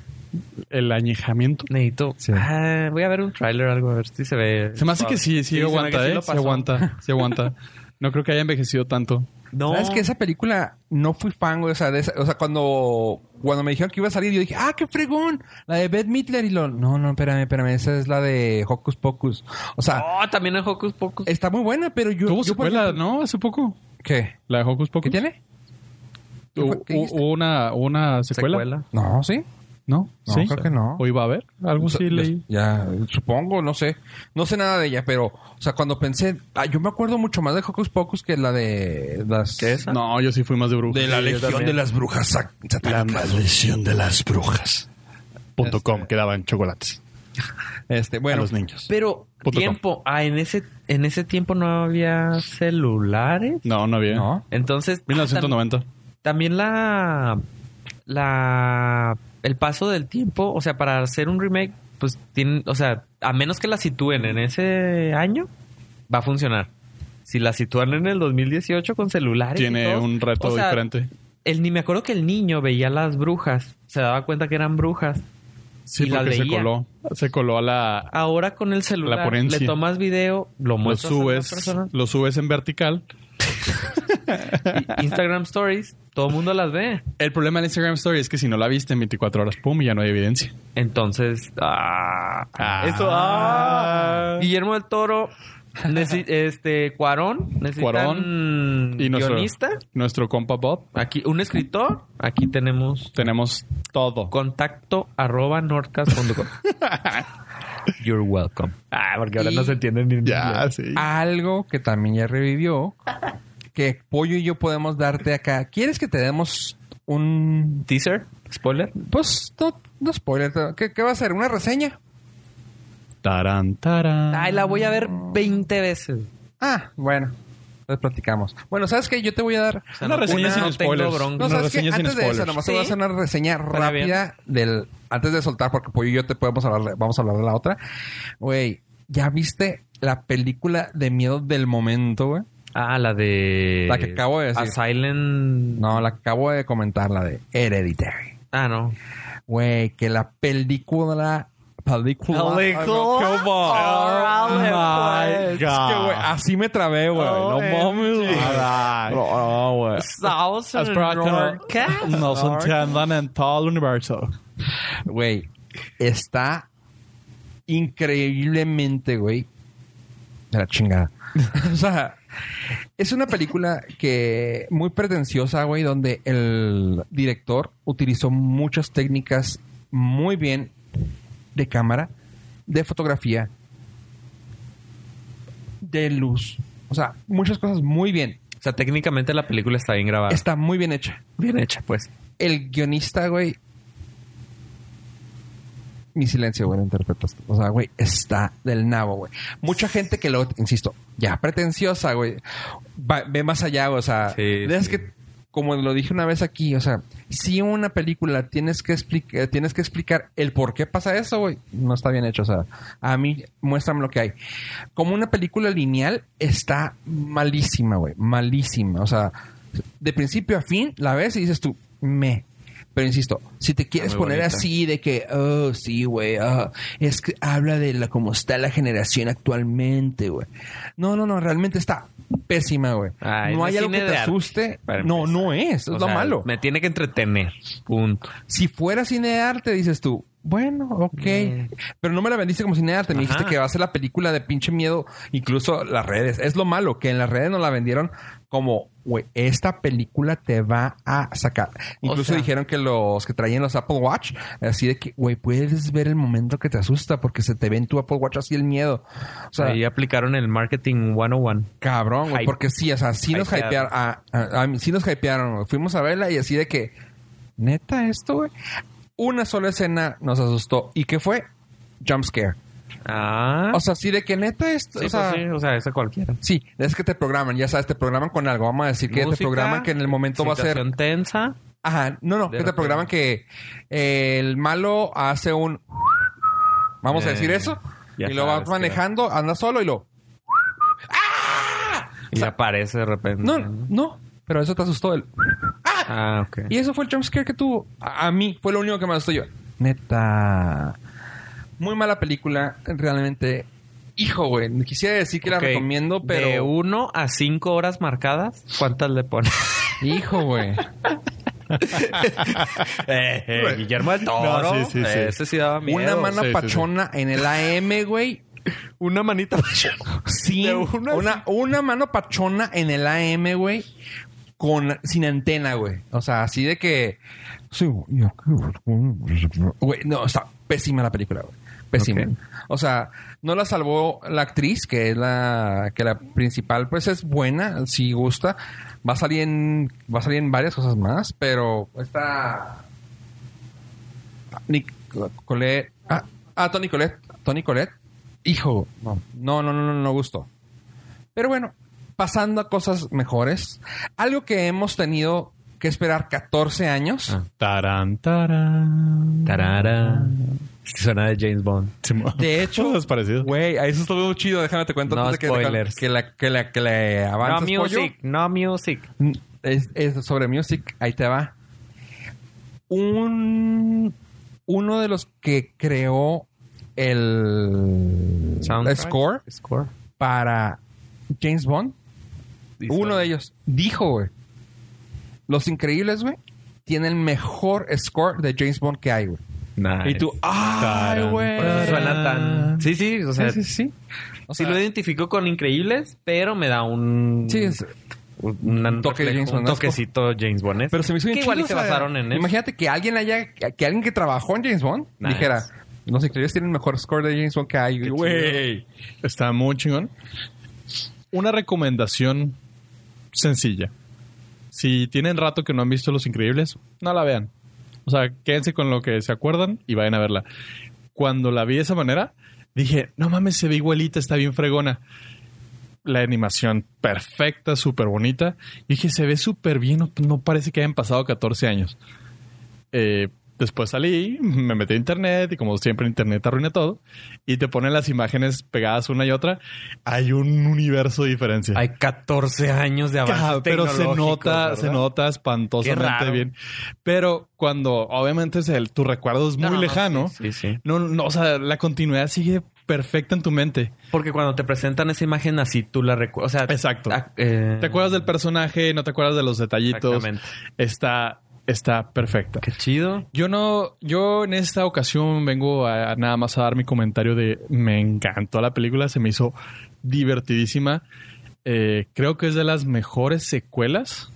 el añejamiento. Necesito. Sí. Ah, voy a ver un tráiler o algo, a ver si se ve. Se me hace que sí, sí, se me aguanta, que sí ¿eh? lo se pasó. aguanta, se [LAUGHS] aguanta. No creo que haya envejecido tanto. No. ¿Sabes que esa película no fui fan, güey? O sea, de esa- o sea cuando, cuando me dijeron que iba a salir, yo dije, ¡ah, qué fregón! La de Beth Midler. Y lo, no, no, espérame, espérame, esa es la de Hocus Pocus. O sea, Oh, también en Hocus Pocus. Eh, está muy buena, pero yo. Tuvo yo, por secuela, ejemplo- ¿no? Hace poco. ¿Qué? La de Hocus Pocus. ¿Qué tiene? ¿Qué fue- Hubo- qué dijiste? hubo una, hubo una secuela. No, sí. ¿No? No, ¿Sí? creo que no. ¿O iba a haber? Algo O sea, sí yo- leí. Ya, supongo, no sé. No sé nada de ella, pero, o sea, cuando pensé, ah, yo me acuerdo mucho más de Hocus Pocus que la de las. ¿Qué es? No, yo sí fui más de brujas. De la Sí, yo Legión también. de las Brujas. Sat- La satánicas. maldición de las brujas. Punto com, que daban chocolates Este, a bueno. los niños. Pero Punto tiempo, ah, en ese en ese tiempo no había celulares. No, no había. No. Entonces, tam- 1990. también la la el paso del tiempo, o sea, para hacer un remake, pues tienen, o sea, a menos que la sitúen en ese año, va a funcionar. Si la sitúan en el 2018 con celulares, y Tiene todo, un reto o sea, diferente. El, ni me acuerdo que el niño veía las brujas, se daba cuenta que eran brujas. Sí, y la porque se leía. coló. Se coló a la... Ahora con el celular ponencia. le tomas video, Lo lo muestras a las subes, personas. lo subes en vertical. Instagram Stories, todo el mundo las ve. El problema del Instagram Story es que si no la viste en 24 horas, pum, ya no hay evidencia. Entonces, ah, Ah. eso, ah. Guillermo del Toro, neci- este, Cuarón, necesitan Y nuestro, guionista, nuestro compa Bob, aquí un escritor, aquí tenemos tenemos todo. contacto arroba norcas.com. You're welcome. Ah, porque ahora no se entienden ni Ya, sí. algo que también ya revivió, que Pollo y yo podemos darte acá. ¿Quieres que te demos un... teaser, spoiler. Pues, no, no spoiler. ¿Qué, qué va a ser? ¿Una reseña? Tarán, tarán. Ay, la voy a ver 20 veces. Ah, bueno. Les platicamos. Bueno, ¿sabes qué? Yo te voy a dar... O sea, Una reseña sin no tengo spoilers. bronca. No, Una ¿sabes qué? reseña sin Antes de eso, spoilers. nomás te voy a hacer Sí. una reseña Suena bien. rápida del... Antes de soltar, porque Pollo y yo te podemos hablar... de- Vamos a hablar de la otra. Güey, ¿ya viste la película de miedo del momento, güey? Ah, la de... La que acabo de decir. A Silent... No, la que acabo de comentar, la de Hereditary. Ah, no. Güey, que la película. Película. Película. Ay, no, qué Órale, bo- pues. my God. Es que, güey, así me trabé, güey. No Órale. mames, güey. Ay. No, güey. Sauce Es para que Norcas. no- nos entiendan en todo el universo. Güey, está increíblemente, güey. De la chingada. [LAUGHS] o sea, es una película que muy pretenciosa, güey, donde el director utilizó muchas técnicas muy bien de cámara, de fotografía, de luz. O sea, muchas cosas muy bien. O sea, técnicamente la película está bien grabada. Está muy bien hecha. bien hecha, pues. El guionista, güey. Mi silencio, güey, lo interpretas. O sea, güey, está del nabo, güey. Mucha gente que lo, insisto, ya pretenciosa, güey. va- ve más allá, güey, o sea, Sí, de esas sí. que, como lo dije una vez aquí, o sea, si una película tienes que explicar, tienes que explicar el por qué pasa eso, güey, no está bien hecho. O sea, a mí, muéstrame lo que hay. Como una película lineal, está malísima, güey. Malísima. O sea, de principio a fin, la ves y dices tú, me. Pero insisto, si te quieres muy poner bonita. así de que, oh, sí, güey, ah, es que habla de la, cómo está la generación actualmente, güey. No, no, no, realmente está pésima, güey. Ay, no no hay es algo que cine te de arte, asuste. para No, empezar. no es, es O lo sea, malo. Me tiene que entretener. Punto. Si fuera cine de arte, dices tú, bueno, ok. Mm. Pero no me la vendiste como cine de arte. Me dijiste Ajá. que va a ser la película de pinche miedo, incluso las redes. Es lo malo, que en las redes nos la vendieron como, güey, esta película te va a sacar. Incluso sea- dijeron que los que traían los Apple Watch, así de que, güey, puedes ver el momento que te asusta porque se te ve en tu Apple Watch así el miedo. O sea, Ahí aplicaron el marketing 101. Cabrón, güey. Hype. Porque sí, o sea, sí nos hypearon. Hypeado. A, a- a mí sí nos hypearon, güey. Fuimos a verla y así de que... ¿Neta esto, güey? Una sola escena nos asustó. ¿Y qué fue? Jump scare. Ah. O sea, así de que neta esto... sí, o sea, pues sí, o sea, esa cualquiera. sí. es que te programan. Ya sabes, te programan con algo. Vamos a decir que te Música, programan que en el momento va a ser... situación tensa. Ajá. No, no. De Que te repente. programan que eh, el malo hace un... Vamos a Eh, decir eso. ya Y lo vas sabes que- manejando, anda solo y lo... Y aparece de repente. No, no, pero eso te asustó. El... Ah, ok. Y eso fue el jumpscare que tuvo. A, a mí fue lo único que me asustó yo. Neta. Muy mala película, realmente. Hijo, güey. Quisiera decir que Ok. la recomiendo, pero. De 1 a 5 horas marcadas, ¿cuántas le pones? Hijo, güey. [LAUGHS] Eh, [LAUGHS] eh, Guillermo del Toro. No, sí, sí, sí. Ese sí daba miedo. Una mano Sí, sí, sí. pachona en el AM, güey. Una manita. Sin, De uno a una, una mano pachona en el AM, güey. Con, sin antena, güey. O sea, así de que. Sí, yo- Güey, no, está pésima la película, güey. Pésima. Ok. O sea, no la salvó la actriz, que es la, que la principal, pues es buena, si gusta. Va a salir en, va a salir en varias cosas más, pero esta. Nic- Colette. Ah, ah, Tony Colette. Tony Colette. Hijo, no, no, no, no, no, no gustó. Pero bueno, pasando a cosas mejores. Algo que hemos tenido que esperar 14 años. Ah. Tarán, tarán. Tarara. Suena de James Bond. Simón. [LAUGHS] [LAUGHS] De hecho, Todo es parecido. Güey, a eso estuvo muy chido. Déjame te cuento No antes de que- spoilers. que, la, que, la, que le avances, no music, pollo. Mm, no music. Es, es sobre music. Ahí te va. Un, uno de los que creó el Soundtrack. score Score. para James Bond, uno de ellos dijo, güey, Los Increíbles, güey, tiene el mejor score de James Bond que hay, güey. Nice. Y tú, ¡ay, Tarán, güey! Por eso suena Ah. tan. Sí, sí, o sea. Sí, sí, sí. O sí sea, lo identifico con Increíbles, pero me da un. sí, es- un, un toque reflejo, James un Bondesco. toquecito James Bond. ¿eh? Pero se me hizo bien Que igual chido, y se o sea, basaron en eso. Imagínate que alguien haya, que que alguien que trabajó en James Bond Nice. dijera, los increíbles tienen el mejor score de James Bond que hay. Güey. Está muy chingón. Una recomendación sencilla. Si tienen rato que no han visto Los Increíbles, no la vean. O sea, quédense con lo que se acuerdan y vayan a verla. Cuando la vi de esa manera, dije, no mames, se ve igualita, está bien fregona. La animación perfecta, súper bonita. Y dije, se ve súper bien, no, no parece que hayan pasado 14 años. Eh, después salí, me metí a internet y como siempre internet arruina todo. Y te ponen las imágenes pegadas una y otra. Hay un universo de diferencia. Hay 14 años de Ca- avance. pero se nota, se nota espantosamente Qué raro. bien. Pero cuando obviamente es el- tu recuerdo es muy lejano, Sí, sí. no, no, o sea, la continuidad sigue perfecta en tu mente. Porque cuando te presentan esa imagen así, tú la recuerdas. O sea, Exacto. ah, eh, Te acuerdas del personaje, no te acuerdas de los detallitos. Exactamente. Está, está perfecta. Qué chido. Yo no, yo en esta ocasión vengo a, a nada más a dar mi comentario de me encantó la película, se me hizo divertidísima. Eh, creo que es de las mejores secuelas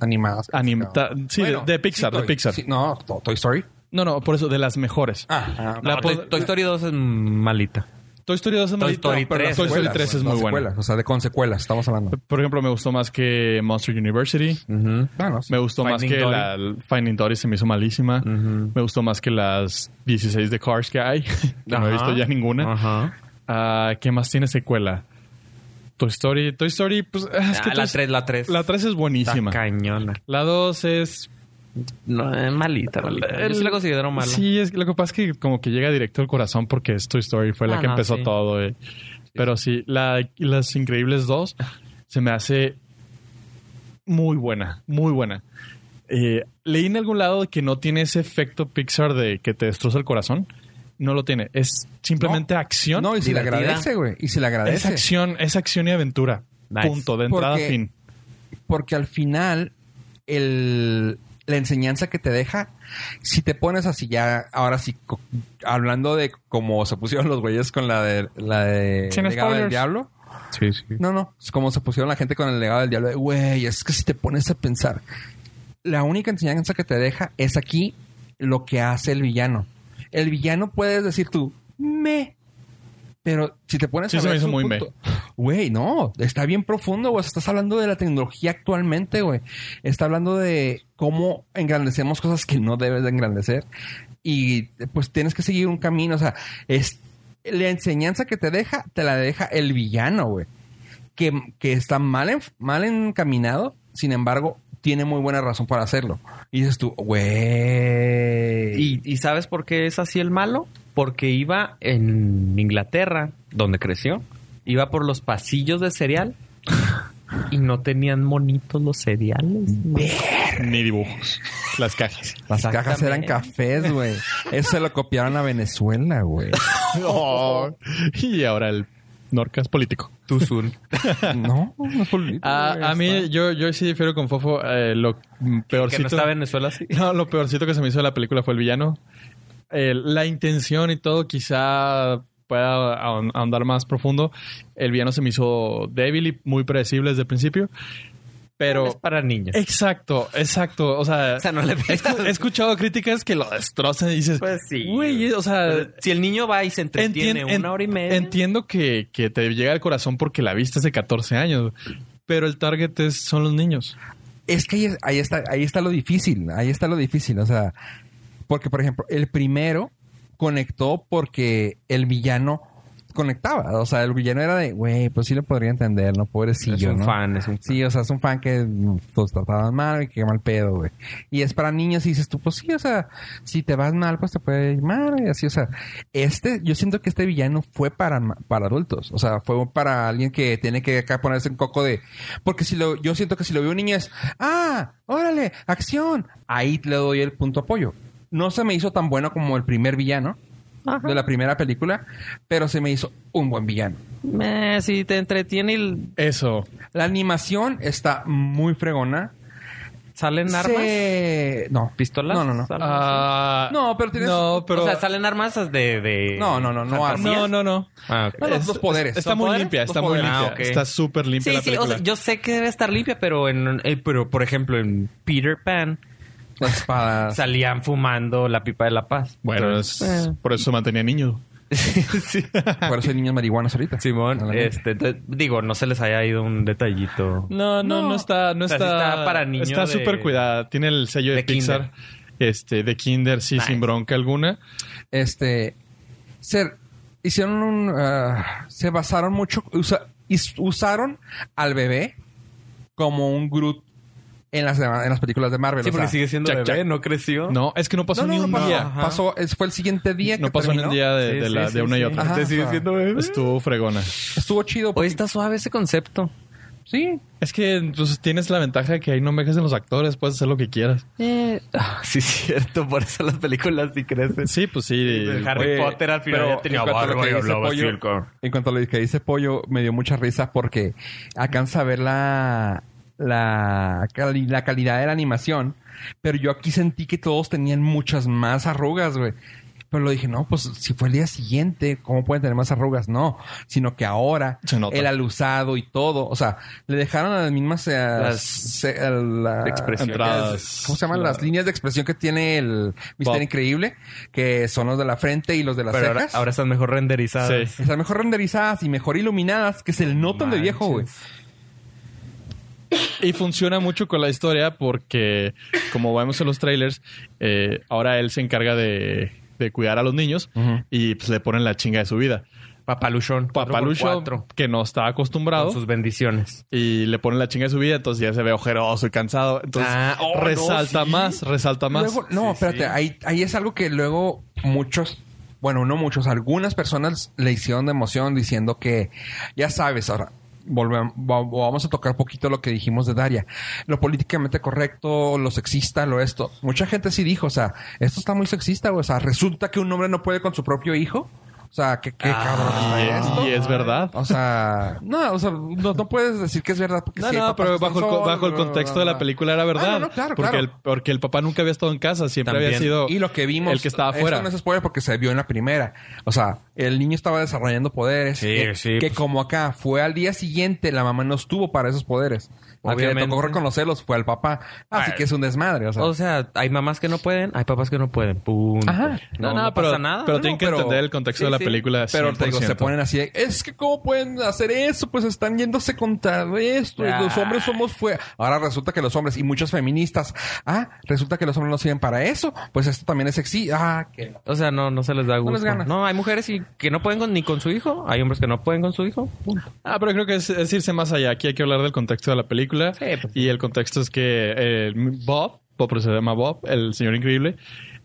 Animadas. anim- No. ta- sí, Bueno, de, de Pixar, sí, de Toy- Pixar. sí, no, to- Toy Story. No, no, por eso, de las mejores. Ah, La No, po- Toy, Toy Story 2 es malita. Toy Story 2 es malita, Story pero 3, Toy Story 3 es muy buena. O sea, de con secuelas, estamos hablando. Por ejemplo, me gustó más que Monster University. Ujú. Bueno, sí. Me gustó más Finding que Dory. la Finding Dory, se me hizo malísima. Ujú. Me gustó más que las 16 de Cars que hay. [LAUGHS] que no Ajá. he visto ya ninguna. Ajá. Ah, ¿Qué más tiene secuela? Toy Story. Toy Story, pues. ah, es que Ah, la Toy- 3, la 3. La 3 es buenísima. cañona. La 2 es. No, es malita, malita. Yo sí la considero mala. Sí, es, que lo que pasa es que como que llega directo al corazón porque es Toy Story, fue la Ah, que no, empezó sí. todo. eh. Pero sí, la, Las Increíbles 2 se me hace muy buena, muy buena. Eh, leí en algún lado que no tiene ese efecto Pixar de que te destroza el corazón. No lo tiene. Es simplemente acción. No, y si le Divertida. agradece, güey. Y si le es agradece. acción, es acción y aventura. Nice. Punto, de entrada a Porque- fin. porque al final el- la enseñanza que te deja, si te pones así ya, ahora sí, co- hablando de cómo se pusieron los güeyes con la de la de Sin legado del spoilers. diablo. sí, sí. No, no, es como se pusieron la gente con el legado del diablo. de, Güey, es que si te pones a pensar, la única enseñanza que te deja es aquí lo que hace el villano. El villano puedes decir tú, me. Pero si te pones Sí, a se ver me hizo su muy me. Güey, no. Está bien profundo, güey. Estás hablando de la tecnología actualmente, güey. Está hablando de cómo engrandecemos cosas que no debes de engrandecer. Y pues tienes que seguir un camino. O sea, es la enseñanza que te deja, te la deja el villano, güey. Que, que está mal, en- mal encaminado, sin embargo, tiene muy buena razón para hacerlo. Y dices tú, güey. ¿Y, y sabes por qué es así el malo? Porque iba [LAUGHS] en Inglaterra, donde creció, iba por los pasillos de cereal y no tenían monitos los cereales. güey. Ni dibujos. Las [LAUGHS] cajas. Las cajas eran cafés, güey. Eso se lo copiaron a Venezuela, güey. [LAUGHS] Y ahora el Norcas político. Tuzul. No, no es político, güey, Ah, A, a mí, está- yo, yo sí difiero con Fofo. eh, lo Que no peorcito. está Venezuela así. [LAUGHS] No, lo peorcito que se me hizo de la película fue el villano. Eh, la intención y todo quizá pueda ahon- ahondar más profundo. El villano se me hizo débil y muy predecible desde el principio. Pero... Es para niños. Exacto, exacto. O sea, Pues, O sea, no le he, escu- he escuchado críticas que lo destrozan y [LAUGHS] dices... Pues sí. Güey, o sea... si el niño va y se entretiene Entien- en- una hora y media. Entiendo que, que te llega al corazón porque la viste hace 14 años, pero el target es, son los niños. Es que ahí, es- ahí está, ahí está lo difícil, ahí está lo difícil, o sea, porque por ejemplo, el primero conectó porque el villano conectaba, o sea, el villano era de, güey, pues sí lo podría entender, ¿no? Pobrecillo, es un ¿no? fan, es un Sí, o sea, es un fan que pues trataban mal y que mal pedo, güey. Y es para niños y dices tú, pues sí, o sea, si te vas mal, pues te puede ir mal y así, o sea, este, yo siento que este villano fue para, ma- para adultos, o sea, fue para alguien que tiene que acá ponerse un coco de, porque si lo, yo siento que si lo veo un niño es, ah, órale, acción, ahí le doy el punto apoyo. No se me hizo tan bueno como el primer villano de la primera película, pero se me hizo un buen villano. Meh, si te entretiene y Eso. La animación está muy fregona. salen armas. Se- No. ¿Pistolas? No, no, no. ¿Salen así? Ah, No, pero tienes- No, pero... o sea, salen armas de. de- No, no, no, no, fantasía? no, no, no. Ah, ok. No, los, los poderes. Está ¿Son muy poderes? limpia, Los está muy poderes. limpia. Ah, ok. Está súper limpia Sí, la sí, o película. sea, yo sé que debe estar limpia, pero en eh, pero por ejemplo en Peter Pan Las espadas. salían fumando la pipa de la paz. Bueno, Entonces, es- por eso mantenía niño. Por eso hay niños marihuanas ahorita. A Simón, la vez. este, entonces, digo, no se les haya ido un detallito. No, no, no, está, no O sea, sí está, está para niño Está de- súper cuidada. Tiene el sello de, de Pixar, este, de Kinder, sí, Nice. sin bronca alguna. Este. ser- hicieron un. ah, se basaron mucho. usa- is- usaron al bebé como un Groot en las, dema- en las películas de Marvel. Sí, o porque sea, sigue siendo Jack, bebé, Jack. no creció. No, es que no pasó No, ni no, un no pasó. día. Ajá. Pasó- es- fue el siguiente día No que pasó ni un terminó. día de, Sí, de sí, la, de sí, una y sí. otra. Ajá. Entonces sigue siendo bebé. Estuvo fregona. Estuvo chido. Hoy porque- está suave ese concepto. Sí. Es que entonces tienes la ventaja de que ahí no me en los actores, puedes hacer lo que quieras. Ah, sí, es cierto, por eso las películas sí crecen. Sí, pues sí. Harry Oye, Potter al final pero ya tenía en cuanto a lo barba que y dice hablaba así Pollo- el cabrón. En cuanto a lo que dice Pollo, me dio mucha risa porque alcanza a ver la, la, cali- la calidad de la animación. Pero yo aquí sentí que todos tenían muchas más arrugas, güey. Pero lo dije, no, pues si fue el día siguiente, ¿cómo pueden tener más arrugas? No, sino que ahora Se nota. el alusado y todo, o sea, le dejaron a las mismas eh, Las se- a la- expresiones. Entradas. ¿Cómo se llaman La- las líneas de expresión que tiene el Mister Bob. Increíble? Que son los de la frente y los de las Pero ahora, cejas. ahora están mejor renderizadas. Sí. Están mejor renderizadas y mejor iluminadas que se le notan de viejo, güey. Y funciona mucho con la historia porque, como vemos en los trailers, eh, ahora él se encarga de, de cuidar a los niños Ujú. y pues, le ponen la chinga de su vida. Papaluchón. Papalucho, cuatro por cuatro, que no está acostumbrado, Con sus bendiciones. y le ponen la chinga de su vida, entonces ya se ve ojeroso y cansado. Entonces Ah, oh, no, resalta sí. más, resalta más. Luego- no, espérate, Ahí, ahí es algo que luego muchos, bueno, no muchos, algunas personas le hicieron de emoción diciendo que, ya sabes, ahora volvemos, vamos a tocar poquito lo que dijimos de Daria, lo políticamente correcto, lo sexista, lo esto. Mucha gente sí dijo, o sea, esto está muy sexista, güey. o sea, resulta que un hombre no puede con su propio hijo. O sea, que Ah, qué cabrón Y está es- esto. Ah, y es verdad. O sea, no, o sea, no, no puedes decir que es verdad. Porque No, sí hay no, papás que pero están bajo el, co- solos, bajo el bla, bla, contexto bla, de bla. la película era verdad. Ah, no, no, claro, porque, claro. El, porque el papá nunca había estado en casa, siempre había También. sido Y lo que vimos. el que estaba esto afuera. no es spoiler porque se vio en la primera. O sea, el niño estaba desarrollando poderes. Sí, que, sí, Que pues. como acá fue al día siguiente, la mamá no estuvo para esos poderes. Obviamente. Obviamente. tocó reconocerlos, fue al papá. Así que es un desmadre. O sea, O sea, hay mamás que no pueden, hay papás que no pueden. Punto. Ajá. No, no, pero, pasa nada. Pero No, tienen que pero- entender el contexto sí, de la sí. película. pero te digo, se 100%. ponen así de, es que cómo pueden hacer eso, pues están yéndose contra esto, y los Ah. hombres somos fue. Ahora resulta que los hombres y muchas feministas, ah, resulta que los hombres no sirven para eso, pues esto también es sexy, ah, que O sea, no, no se les da gusto. les gana. No, hay mujeres y- que no pueden con- ni con su hijo. Hay hombres que no pueden con su hijo. Punto. Ah, pero creo que es, es irse más allá. Aquí hay que hablar del contexto de la película. Sí, pues. Y el contexto es que eh, Bob, porque se llama Bob, el señor increíble,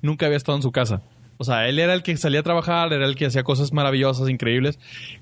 nunca había estado en su casa. O sea, él era el que salía a trabajar, era el que hacía cosas maravillosas, increíbles.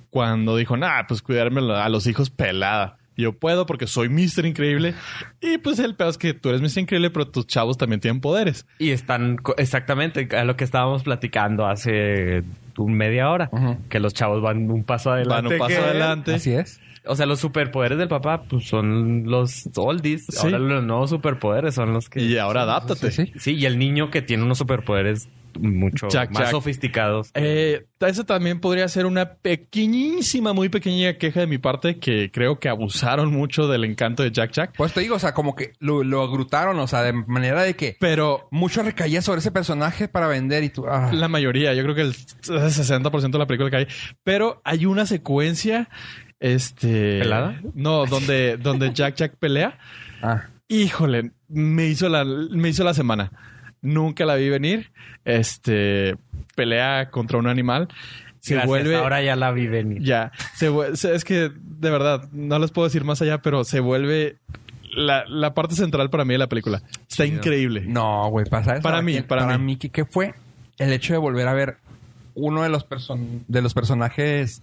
Cuando dijo, nah, pues cuidarme a los hijos pelada. Yo puedo porque soy Mr. Increíble. Y pues el peor es que tú eres Mr. Increíble, pero tus chavos también tienen poderes. Y están co- exactamente a lo que estábamos platicando hace un media hora, Ujú. que los chavos van un paso Van adelante. un paso que él. adelante. Así es. O sea, los superpoderes del papá pues, son los oldies. Sí. Ahora los nuevos superpoderes son los que... Y ahora adáptate. Sí, sí. Sí, y el niño que tiene unos superpoderes mucho Chac, más chac. sofisticados. Eh, esa también podría ser una pequeñísima, muy pequeña queja de mi parte que creo que abusaron mucho del encanto de Jack Jack. Pues te digo, o sea, como que lo, lo agrutaron, o sea, de manera de que Pero mucho recaía sobre ese personaje para vender y tú. ah. la mayoría, yo creo que el 60% de la película que hay. Pero hay una secuencia, este... ¿Pelada? No, donde, donde Jack Jack pelea. Ah. Híjole, me hizo la, me hizo la semana. Nunca la vi venir. Este pelea contra un animal. Se Gracias, vuelve. Ahora ya la vi venir. Ya. Se, vue- se- es que, de verdad, no les puedo decir más allá, pero se vuelve la, la parte central para mí de la película. Está Chido. increíble. No, güey, para, ¿sabes Para mí, quién? para mí. ¿qué, qué fue? El hecho de volver a ver uno de los, person- de los personajes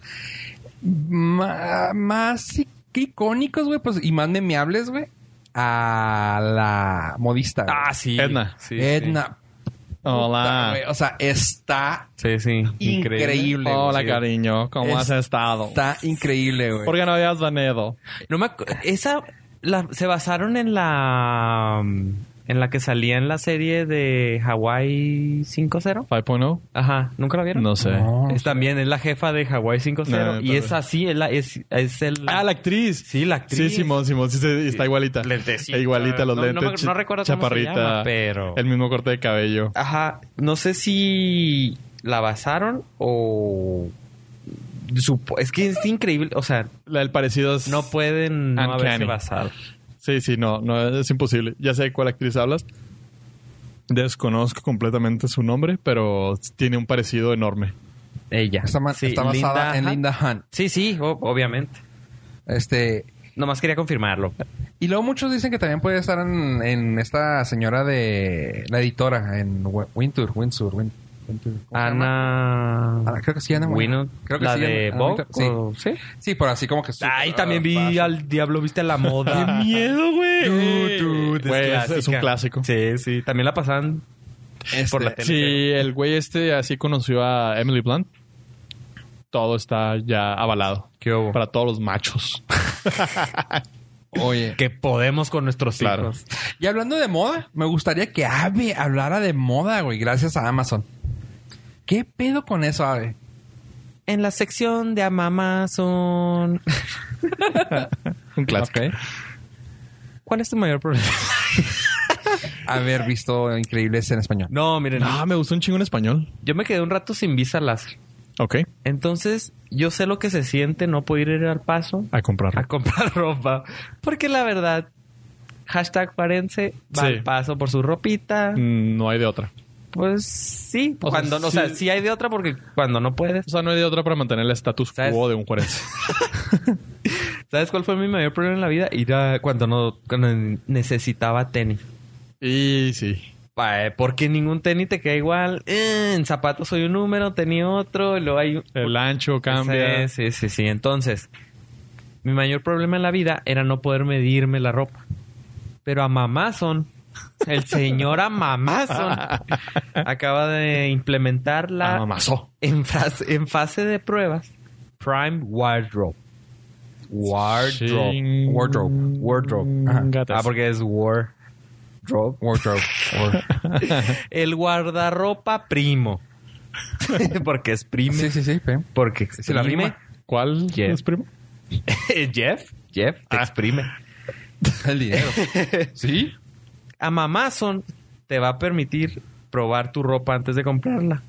ma- más i- icónicos, güey, pues, y más memeables, güey, a la modista. güey. Ah, sí. Edna. Sí, Edna. puta, Hola. güey, O sea, está Sí, sí. increíble. güey. Hola, cariño. ¿Cómo has Es- estado? Está increíble, güey. ¿Por qué no habías venido? No me acu- esa la- se basaron en la mm, en la que salía en la serie de Hawaii 5-0. 5.0. Ajá, ¿nunca la vieron? oh? No sé. No. Es también es la jefa de Hawaii 5-0 No, y tal es vez. así, es, la- es, es el Ah, la actriz. Sí, la actriz. Sí, Simón, Simón, sí, sí, está igualita. E Lentecita. Igualita los No, no lentes. me- no chi- recuerdo cómo se chaparrita, llama, pero- El mismo corte de cabello. Ajá, no sé si la basaron o supo- es que es increíble, o sea, La- El parecido es. no pueden no Uncanny. haberse basado. Sí, sí, no, no, es imposible. Ya sé de cuál actriz hablas. Desconozco completamente su nombre, pero tiene un parecido enorme. Ella. Está, ma- Sí, está basada Linda en Hunt. Linda Hunt. Sí, sí, o- obviamente. Este, Nomás quería confirmarlo. Y luego muchos dicen que también puede estar en, en esta señora de la editora, en Wi- Winter, Windsor, Win- Winter. ¿cómo Ah, se llama? Ana. Ah, creo que sí, Ana Winnow. Creo que la sí, de Ana Vogue. Wintour. Sí. o- Sí. Sí, por así como que... súper- Ay, también vi ah, al diablo, viste a la moda. miedo, Dude, dude, Güey, es, es un clásica. clásico. Sí. Sí, sí. También la pasaban este, por la tele. el güey este así conoció a Emily Blunt, todo está ya avalado. ¿Qué hubo? Para todos los machos. Oye. Que podemos con nuestros Claro. hijos. Y hablando de moda, me gustaría que Ave hablara de moda, güey, gracias a Amazon. ¿Qué pedo con eso, Ave? En la sección de Amazon. Un clásico. ¿Cuál es tu mayor problema? Haber visto Increíbles en español. [LAUGHS] No, miren. Ah, me gustó un chingo en español. Yo me quedé un rato sin visa láser. Ok, Entonces, yo sé lo que se siente no poder ir al paso a comprarlo. a comprar [LAUGHS] ropa. Porque la verdad, hashtag parense, va Sí. al paso por su ropita. Mm, No hay de otra. Pues sí, O sea, cuando no, o sea, sí. sí hay de otra porque cuando no puedes. O sea, no hay de otra para mantener el status ¿Sabes? quo de [LAUGHS] un juárez. ¿Sabes cuál fue mi mayor problema en la vida? Ir a cuando no cuando necesitaba tenis. y sí. Eh, Porque ningún tenis te queda igual. Eh, en zapatos soy un número, tenis otro, y luego hay El ancho cambia. [LAUGHS] Sí, sí, sí, sí. Entonces, mi mayor problema en la vida era no poder medirme la ropa. Pero a Mamazon, el señor a [LAUGHS] Mamazon, acaba de implementar La la mamazó. en fase, en fase de pruebas Prime Wardrobe. Wardrobe. Ching- Wardrobe. Wardrobe. Ajá. Gatas. Ah, porque es war. Drop. Wardrobe. [LAUGHS] War- El guardarropa primo. [LAUGHS] porque es prime. sí, sí, sí. pe. Porque Sí, la exprime. rima. ¿Cuál Yeah. es primo? [LAUGHS] Jeff. Jeff, Ah. te exprime. El dinero. ¿Sí? a Mamazon te va a permitir probar tu ropa antes de comprarla.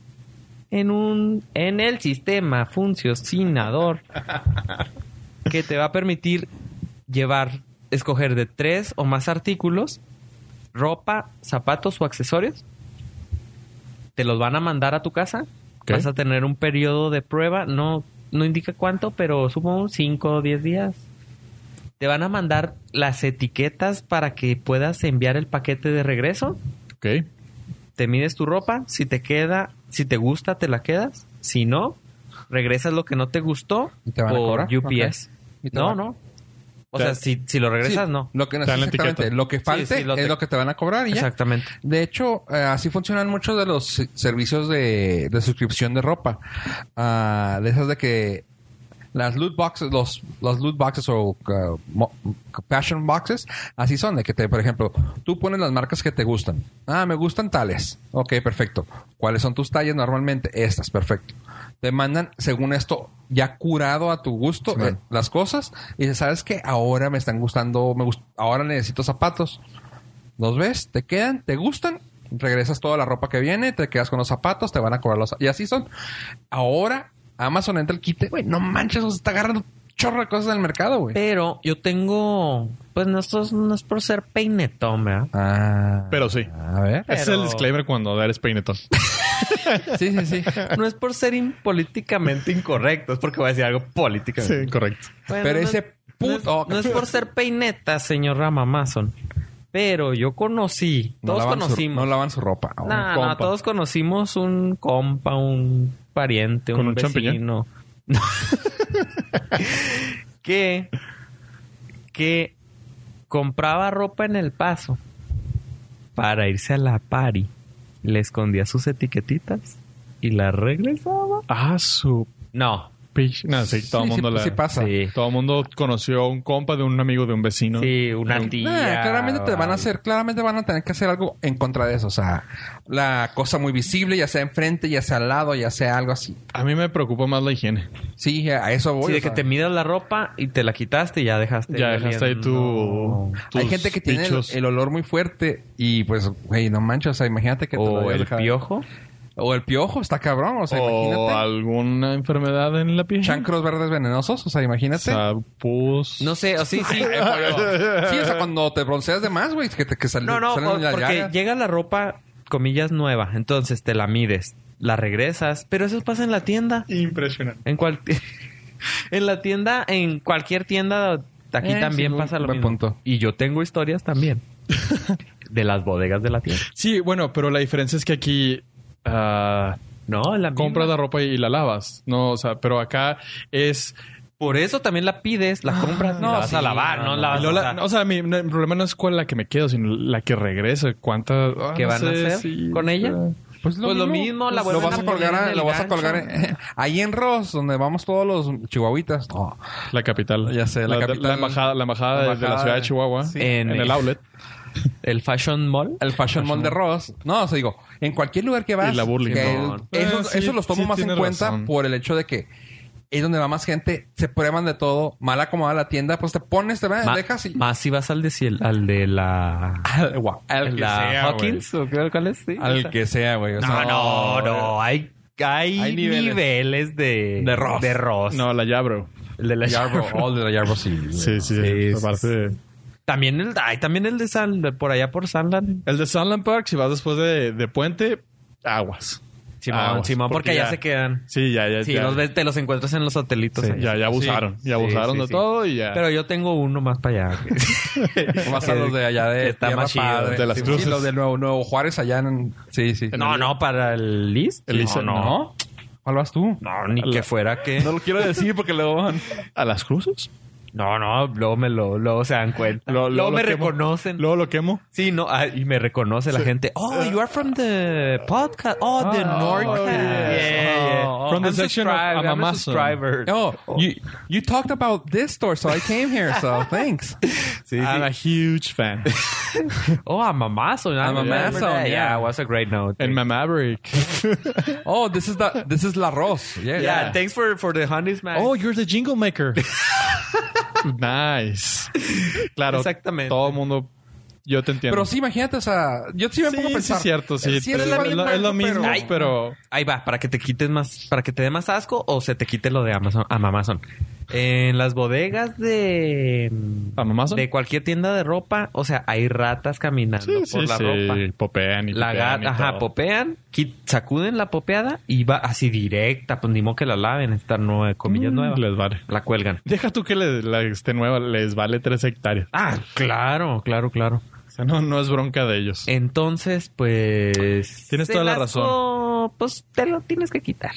En un en el sistema funcionador que te va a permitir llevar escoger de tres o más artículos, ropa, zapatos o accesorios. Te los van a mandar a tu casa. Ok. Vas a tener un periodo de prueba, no no indica cuánto, pero supongo 5 o 10 días. Te van a mandar las etiquetas para que puedas enviar el paquete de regreso. Ok. Te mides tu ropa, si te queda, si te gusta, te la quedas. Si no, regresas lo que no te gustó ¿Y te van a por cobrar? UPS. Ok. ¿Y te No, van- no. O sea, si, si lo regresas, Sí, no. Lo que, Te dan la exactamente, etiqueta. lo que falte sí, lo es te- lo que te van a cobrar y ya. Exactamente. De hecho, eh, así funcionan muchos de los si- servicios de, de suscripción de ropa. Ah, de esas de que las loot boxes, los, los loot boxes o uh, mo- fashion boxes, así son. De que, te, por ejemplo, tú pones las marcas que te gustan. Ah, me gustan tales. Ok, perfecto. ¿Cuáles son tus tallas normalmente? Estas, perfecto. Te mandan, según esto, ya curado a tu gusto Sí, man. eh, las cosas. Y dices, ¿sabes qué? Ahora me están gustando, me gust- ahora necesito zapatos. Los ves, te quedan, te gustan, regresas toda la ropa que viene, te quedas con los zapatos, te van a cobrar los y así son. Ahora Amazon entra el quite, güey, no manches, nos está agarrando chorro de cosas del mercado, güey. Pero yo tengo. Pues no, esto es- no es por ser peinetón, [LAUGHS] ¿verdad? Ah, Pero sí. a ver. Ese es el disclaimer cuando eres peinetón. [LAUGHS] Sí, sí, sí. No es por ser in- políticamente incorrecto, es porque voy a decir algo políticamente. [LAUGHS] Sí, [LAUGHS] correcto. Bueno, Pero no- ese no es- puto- No es, por ser peineta, señor Ramamazon. Pero yo conocí, No todos lavan su- conocimos. no lavan su ropa. ah, No, aún. no, compa. todos conocimos un compa, un pariente, ¿Con un, un champiñón? vecino. [LAUGHS] que, que compraba ropa en el paso para irse a la pari. Le escondía sus etiquetitas y las regresaba. Ah, su No. pitch. No, sí, todo el Sí, mundo sí, la- sí pasa. Sí. Todo el mundo conoció a un compa de un amigo de un vecino. Sí, una Un- tía. Nah, claramente te van a hacer, claramente van a tener que hacer algo en contra de eso. O sea, la cosa muy visible, ya sea enfrente, ya sea al lado, ya sea algo así. A mí me preocupa más la higiene. Sí, a eso voy. Sí, de o que sea. te midas la ropa y te la quitaste y ya dejaste. Ya dejaste ahí tu. oliendo. Hay tus gente que tiene el, pichos. el olor muy fuerte y pues, güey, no manches, o sea, imagínate que te lo O hayas el dejado. piojo. O el piojo, está cabrón, o sea, o imagínate. alguna enfermedad en la piel. Chancros verdes venenosos, o sea, O imagínate. sea, pus. No sé, o sí, [LAUGHS] sí. [LAUGHS] sí, o sea, cuando te bronceas de más, güey, que te que sal- No, no, salen por- las porque llagas. llega la ropa, comillas, nueva. Entonces te la mides, la regresas. Pero eso pasa en la tienda. Impresionante. En cual... [LAUGHS] en la tienda, en cualquier tienda, aquí Eh, sí, también buen- pasa lo buen mismo. punto. Y yo tengo historias [LAUGHS] también. de las bodegas de la tienda. Sí, bueno, pero la diferencia es que aquí ah, No, la misma. compras la ropa y la lavas. No, o sea, pero acá es. Por eso también la pides, la compras, y no, la vas a sí, lavar, no, no, no, la y vas luego a la- usar. o sea, mi, no, el problema no es cuál la que me quedo, sino la que regresa. ¿Cuántas ah, ¿Qué no van a sé, hacer sí, con ella? Pues lo mismo, la lo vuelven vas a a colgar, poner a- en lo el vas a colgar gancho. en- [LAUGHS] ahí en Ross, donde vamos todos los chihuahuitas. No. La capital. Ya sé, la capital. La embajada, la embajada La de- de la embajada ciudad de- de Chihuahua. sí. En, En- el outlet. El Fashion Mall. El Fashion Mall de Ross. No, o sea, digo, en cualquier lugar que vas. Y la Burlington. que el- No. eso, Eh, sí, eso los tomo sí más en tienes cuenta razón. por el hecho de que es donde va más gente, se prueban de todo, mal acomodada la tienda, pues te pones, te Ma- dejas [LAUGHS] y. Más si vas al de, si- al de la... Al, guau, al que la sea, güey. Hawkins, ¿o qué- cuál es? Sí, esa. Al que sea, güey. o sea, No, no, [LAUGHS] no. Hay, hay, Hay niveles. niveles. de... De Ross. De Ross. No, la Yabro. El de la Jarbo, all de la Jarbo, sí. güey. Sí, sí, sí. Aparte. También el, ay, también el de San, de por allá por Sandland. El de Sunland Park, si vas después de, de Puente, aguas. Simón, Aguas, Simón, porque, allá ya- se quedan. Sí, ya, ya. Sí, ya, los ves, te los encuentras en los sí, hotelitos. allá. ya, ya abusaron. Sí, ya abusaron sí, de sí. todo y ya. Pero yo tengo uno más para allá. Más a los de allá de Que está Tierra más chido, Padre. de las Sí, cruces. sí, los de Nuevo, Nuevo Juárez allá en... Sí, sí. no, no, para el list. El List, no, no. ¿No? ¿Cuál vas tú? No, ni que fuera que... lo quiero decir porque luego... ¿A las cruces? No, no, luego me lo... Luego se dan cuenta. Lo- lo- luego lo me quemo. reconocen. Luego lo quemo. Sí, no, ah, y me reconoce la gente. Oh, you are from the podcast. Oh, the Nordcast. Ah, yes. Yeah, yeah. Oh, From the I'm section of Oh, subscribed, I'm a Amazon. subscriber. No, Oh, you, you talked about this store, so I came here, so thanks. Sí, I'm a sí. huge fan. Oh, I'm Amazon. I'm I'm Amazon, Yeah, yeah. yeah, was a great note. en my Maverick. Oh, this is the this is La Rose. Yeah. yeah, thanks for, for the honeys, man. [LAUGHS] Oh, you're the jingle maker. [LAUGHS] nice. Claro. Exactamente. Todo el mundo. Yo te entiendo. Pero sí, imagínate, o sea, yo sí me pongo a sí, sí, pensar. es cierto. Sí, eres es, la lo- misma, es lo mismo, pero- pero. Ahí va, para que te quites más, para que te dé más asco o se te quite lo de Amazon. am- Amazon. En las bodegas de ¿Amazon? de cualquier tienda de ropa, o sea, hay ratas caminando Sí, por sí, la sí. ropa. Popean y La popean y gata, ajá, todo. popean, qui- sacuden la popeada y va así directa, pues ni modo que la laven, esta nueva, comillas Mm, nueva. Les vale. La cuelgan. Deja tú que le- la que esté nueva les vale tres hectáreas. Ah, claro, claro, claro. O sea, no, no es bronca de ellos. Eh. Entonces, pues. Tienes toda el la asco, Pues te lo tienes que quitar.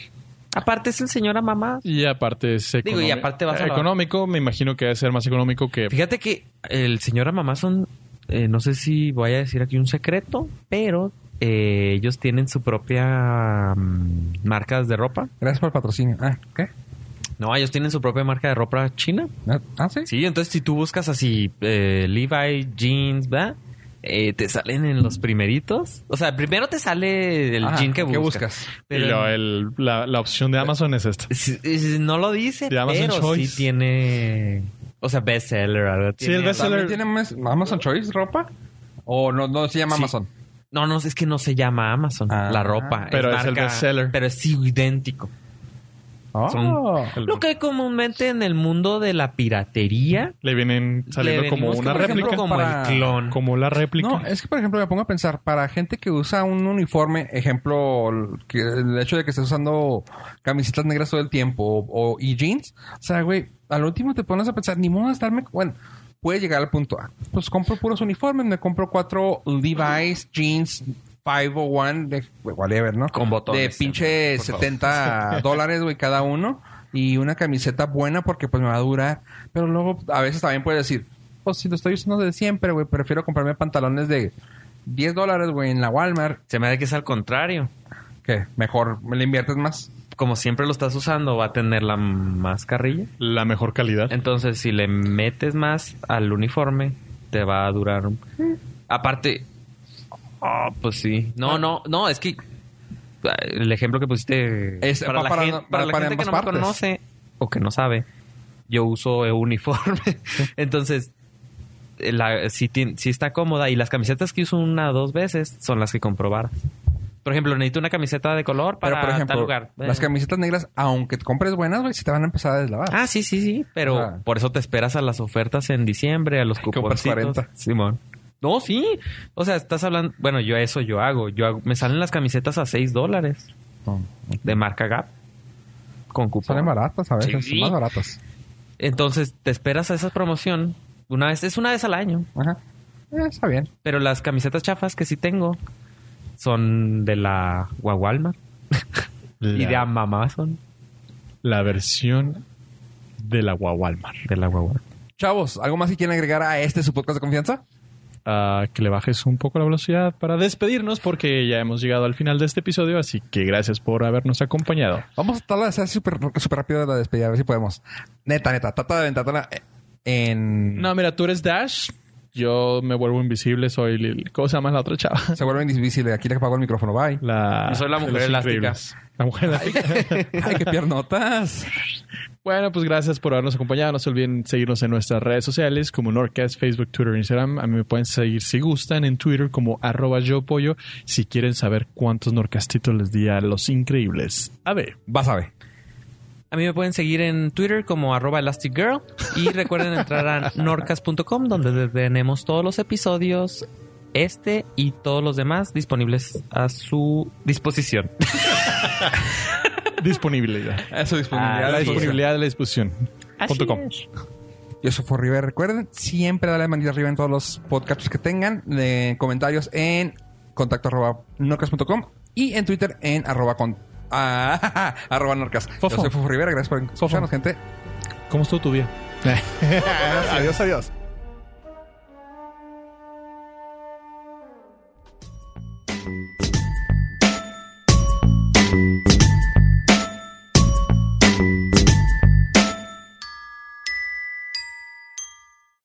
Aparte es el señor a mamá. Y aparte es Digo, y economi- eh, aparte vas a la- económico, me imagino que debe ser más económico que Fíjate que el señor a mamá son, eh, no sé si voy a decir aquí un secreto, pero eh, ellos tienen su propia mm, marcas de ropa. Gracias por el patrocinio. Ah, ¿qué? No, ellos tienen su propia marca de ropa china. Ah, Ah, sí. Sí, entonces si tú buscas así eh, Levi, jeans, ¿verdad? Eh, te salen en los primeritos. O sea, primero te sale el Ajá, jean que Ah, ¿qué buscas. buscas? y Pero- lo- el- la, la opción de eh, Amazon es esta. Sí, sí, No lo dice, De Amazon pero Choice. sí tiene. O sea, bestseller, algo. Sí, tiene- el bestseller. ¿También tiene más- Amazon Choice ropa? ¿O no, no se llama Sí. Amazon? No, no, es que no se llama Amazon, Ah. la ropa. Pero es el bestseller. Pero es idéntico. Oh. Son- El- Lo que comúnmente en el mundo de la piratería Le vienen saliendo le como venimos una por ejemplo, réplica. como para- el clon. Como la réplica. No, es que por ejemplo me pongo a pensar, para gente que usa un uniforme, ejemplo, que el hecho de que estés usando camisetas negras todo el tiempo o, o- y jeans, o sea, güey, al último te pones a pensar, ni modo de estarme, bueno, puede llegar al punto A. Pues compro puros uniformes, me compro cuatro Levi's, jeans, 501, de, whatever, ¿no? Con botones, De pinche por favor. [LAUGHS] 70 dólares, güey, cada uno. Y una camiseta buena porque pues me va a durar. Pero luego a veces también puedes decir, pues si lo estoy usando de siempre, güey, prefiero comprarme pantalones de 10 dólares, güey, en la Walmart. se me da que es al contrario. Que mejor me le inviertes más. Como siempre lo estás usando, va a tener la más carrilla. La mejor calidad. Entonces, si le metes más al uniforme, te va a durar. un- Aparte, Ah, pues sí. No, no, no, es que ah, el ejemplo que pusiste Es- para, va la para- gente, va para la para gente que no ambas me partes. conoce o que no sabe, yo uso eh, uniforme. [LAUGHS] Entonces, eh, la, si, tien- si está cómoda y las camisetas que uso una o dos veces son las que comprobar. Por ejemplo, necesito una camiseta de color para Pero por tal ejemplo, lugar. las Eh. camisetas negras, aunque te compres buenas, güey, se te van a empezar a deslavar. Ah, sí, sí, sí. Pero Ah. por eso te esperas a las ofertas en diciembre, a los compras cuponcitos. 40. Simón. No, sí. O sea, estás hablando... Bueno, yo eso yo hago. Yo hago- Me salen las camisetas a 6 dólares No, de marca Gap. Con cupón. Salen baratas a veces, Ah. Sí. más baratas. Entonces, te esperas a esa promoción. Una vez... Es una vez al año. Ajá. Eh, está bien. Pero las camisetas chafas que sí tengo son de la Guagualma y de La- Amazon. la versión de la Guawalmar. De la Guagualma. Chavos, ¿algo más que quieren agregar a este su podcast de confianza? Ah, que le bajes un poco la velocidad para despedirnos porque ya hemos llegado al final de este episodio, así que gracias por habernos acompañado. Vamos a tratar de hacer súper súper rápido la despedida, a ver si podemos. Neta, neta, trata de aventarla eh, en... No, mira, tú eres Dash, yo me vuelvo invisible, soy Lil. ¿Cómo se llama la otra chava? Se vuelve invisible. Aquí le apago el micrófono. Bye. [LAUGHS] La, Yo soy la de mujer los elástica. increíbles. La mujer elástica. Ay, qué piernotas. Bueno, pues gracias por habernos acompañado. No se olviden seguirnos en nuestras redes sociales como Nordcast, Facebook, Twitter, Instagram. A mí me pueden seguir si gustan en Twitter como arroba yo pollo si quieren saber cuántos Nordcastitos les di a los increíbles. A ver, Vas a ver. A mí me pueden seguir en Twitter como arroba elasticgirl y recuerden entrar a norcas.com donde tenemos todos los episodios, este y todos los demás disponibles a su disposición. disponibilidad. Eso disponibilidad. Ah, la Así es. disponibilidad de la disposición. Punto com. Yo soy For River. Recuerden, siempre dale manita arriba en todos los podcasts que tengan. De comentarios en contacto arroba norcas.com y en Twitter en arroba con... [LAUGHS] ah, arroba norcas. Yo Fofo. soy Fofo Rivera. Gracias por escucharnos, gente. ¿Cómo estuvo tu día? adiós, adiós.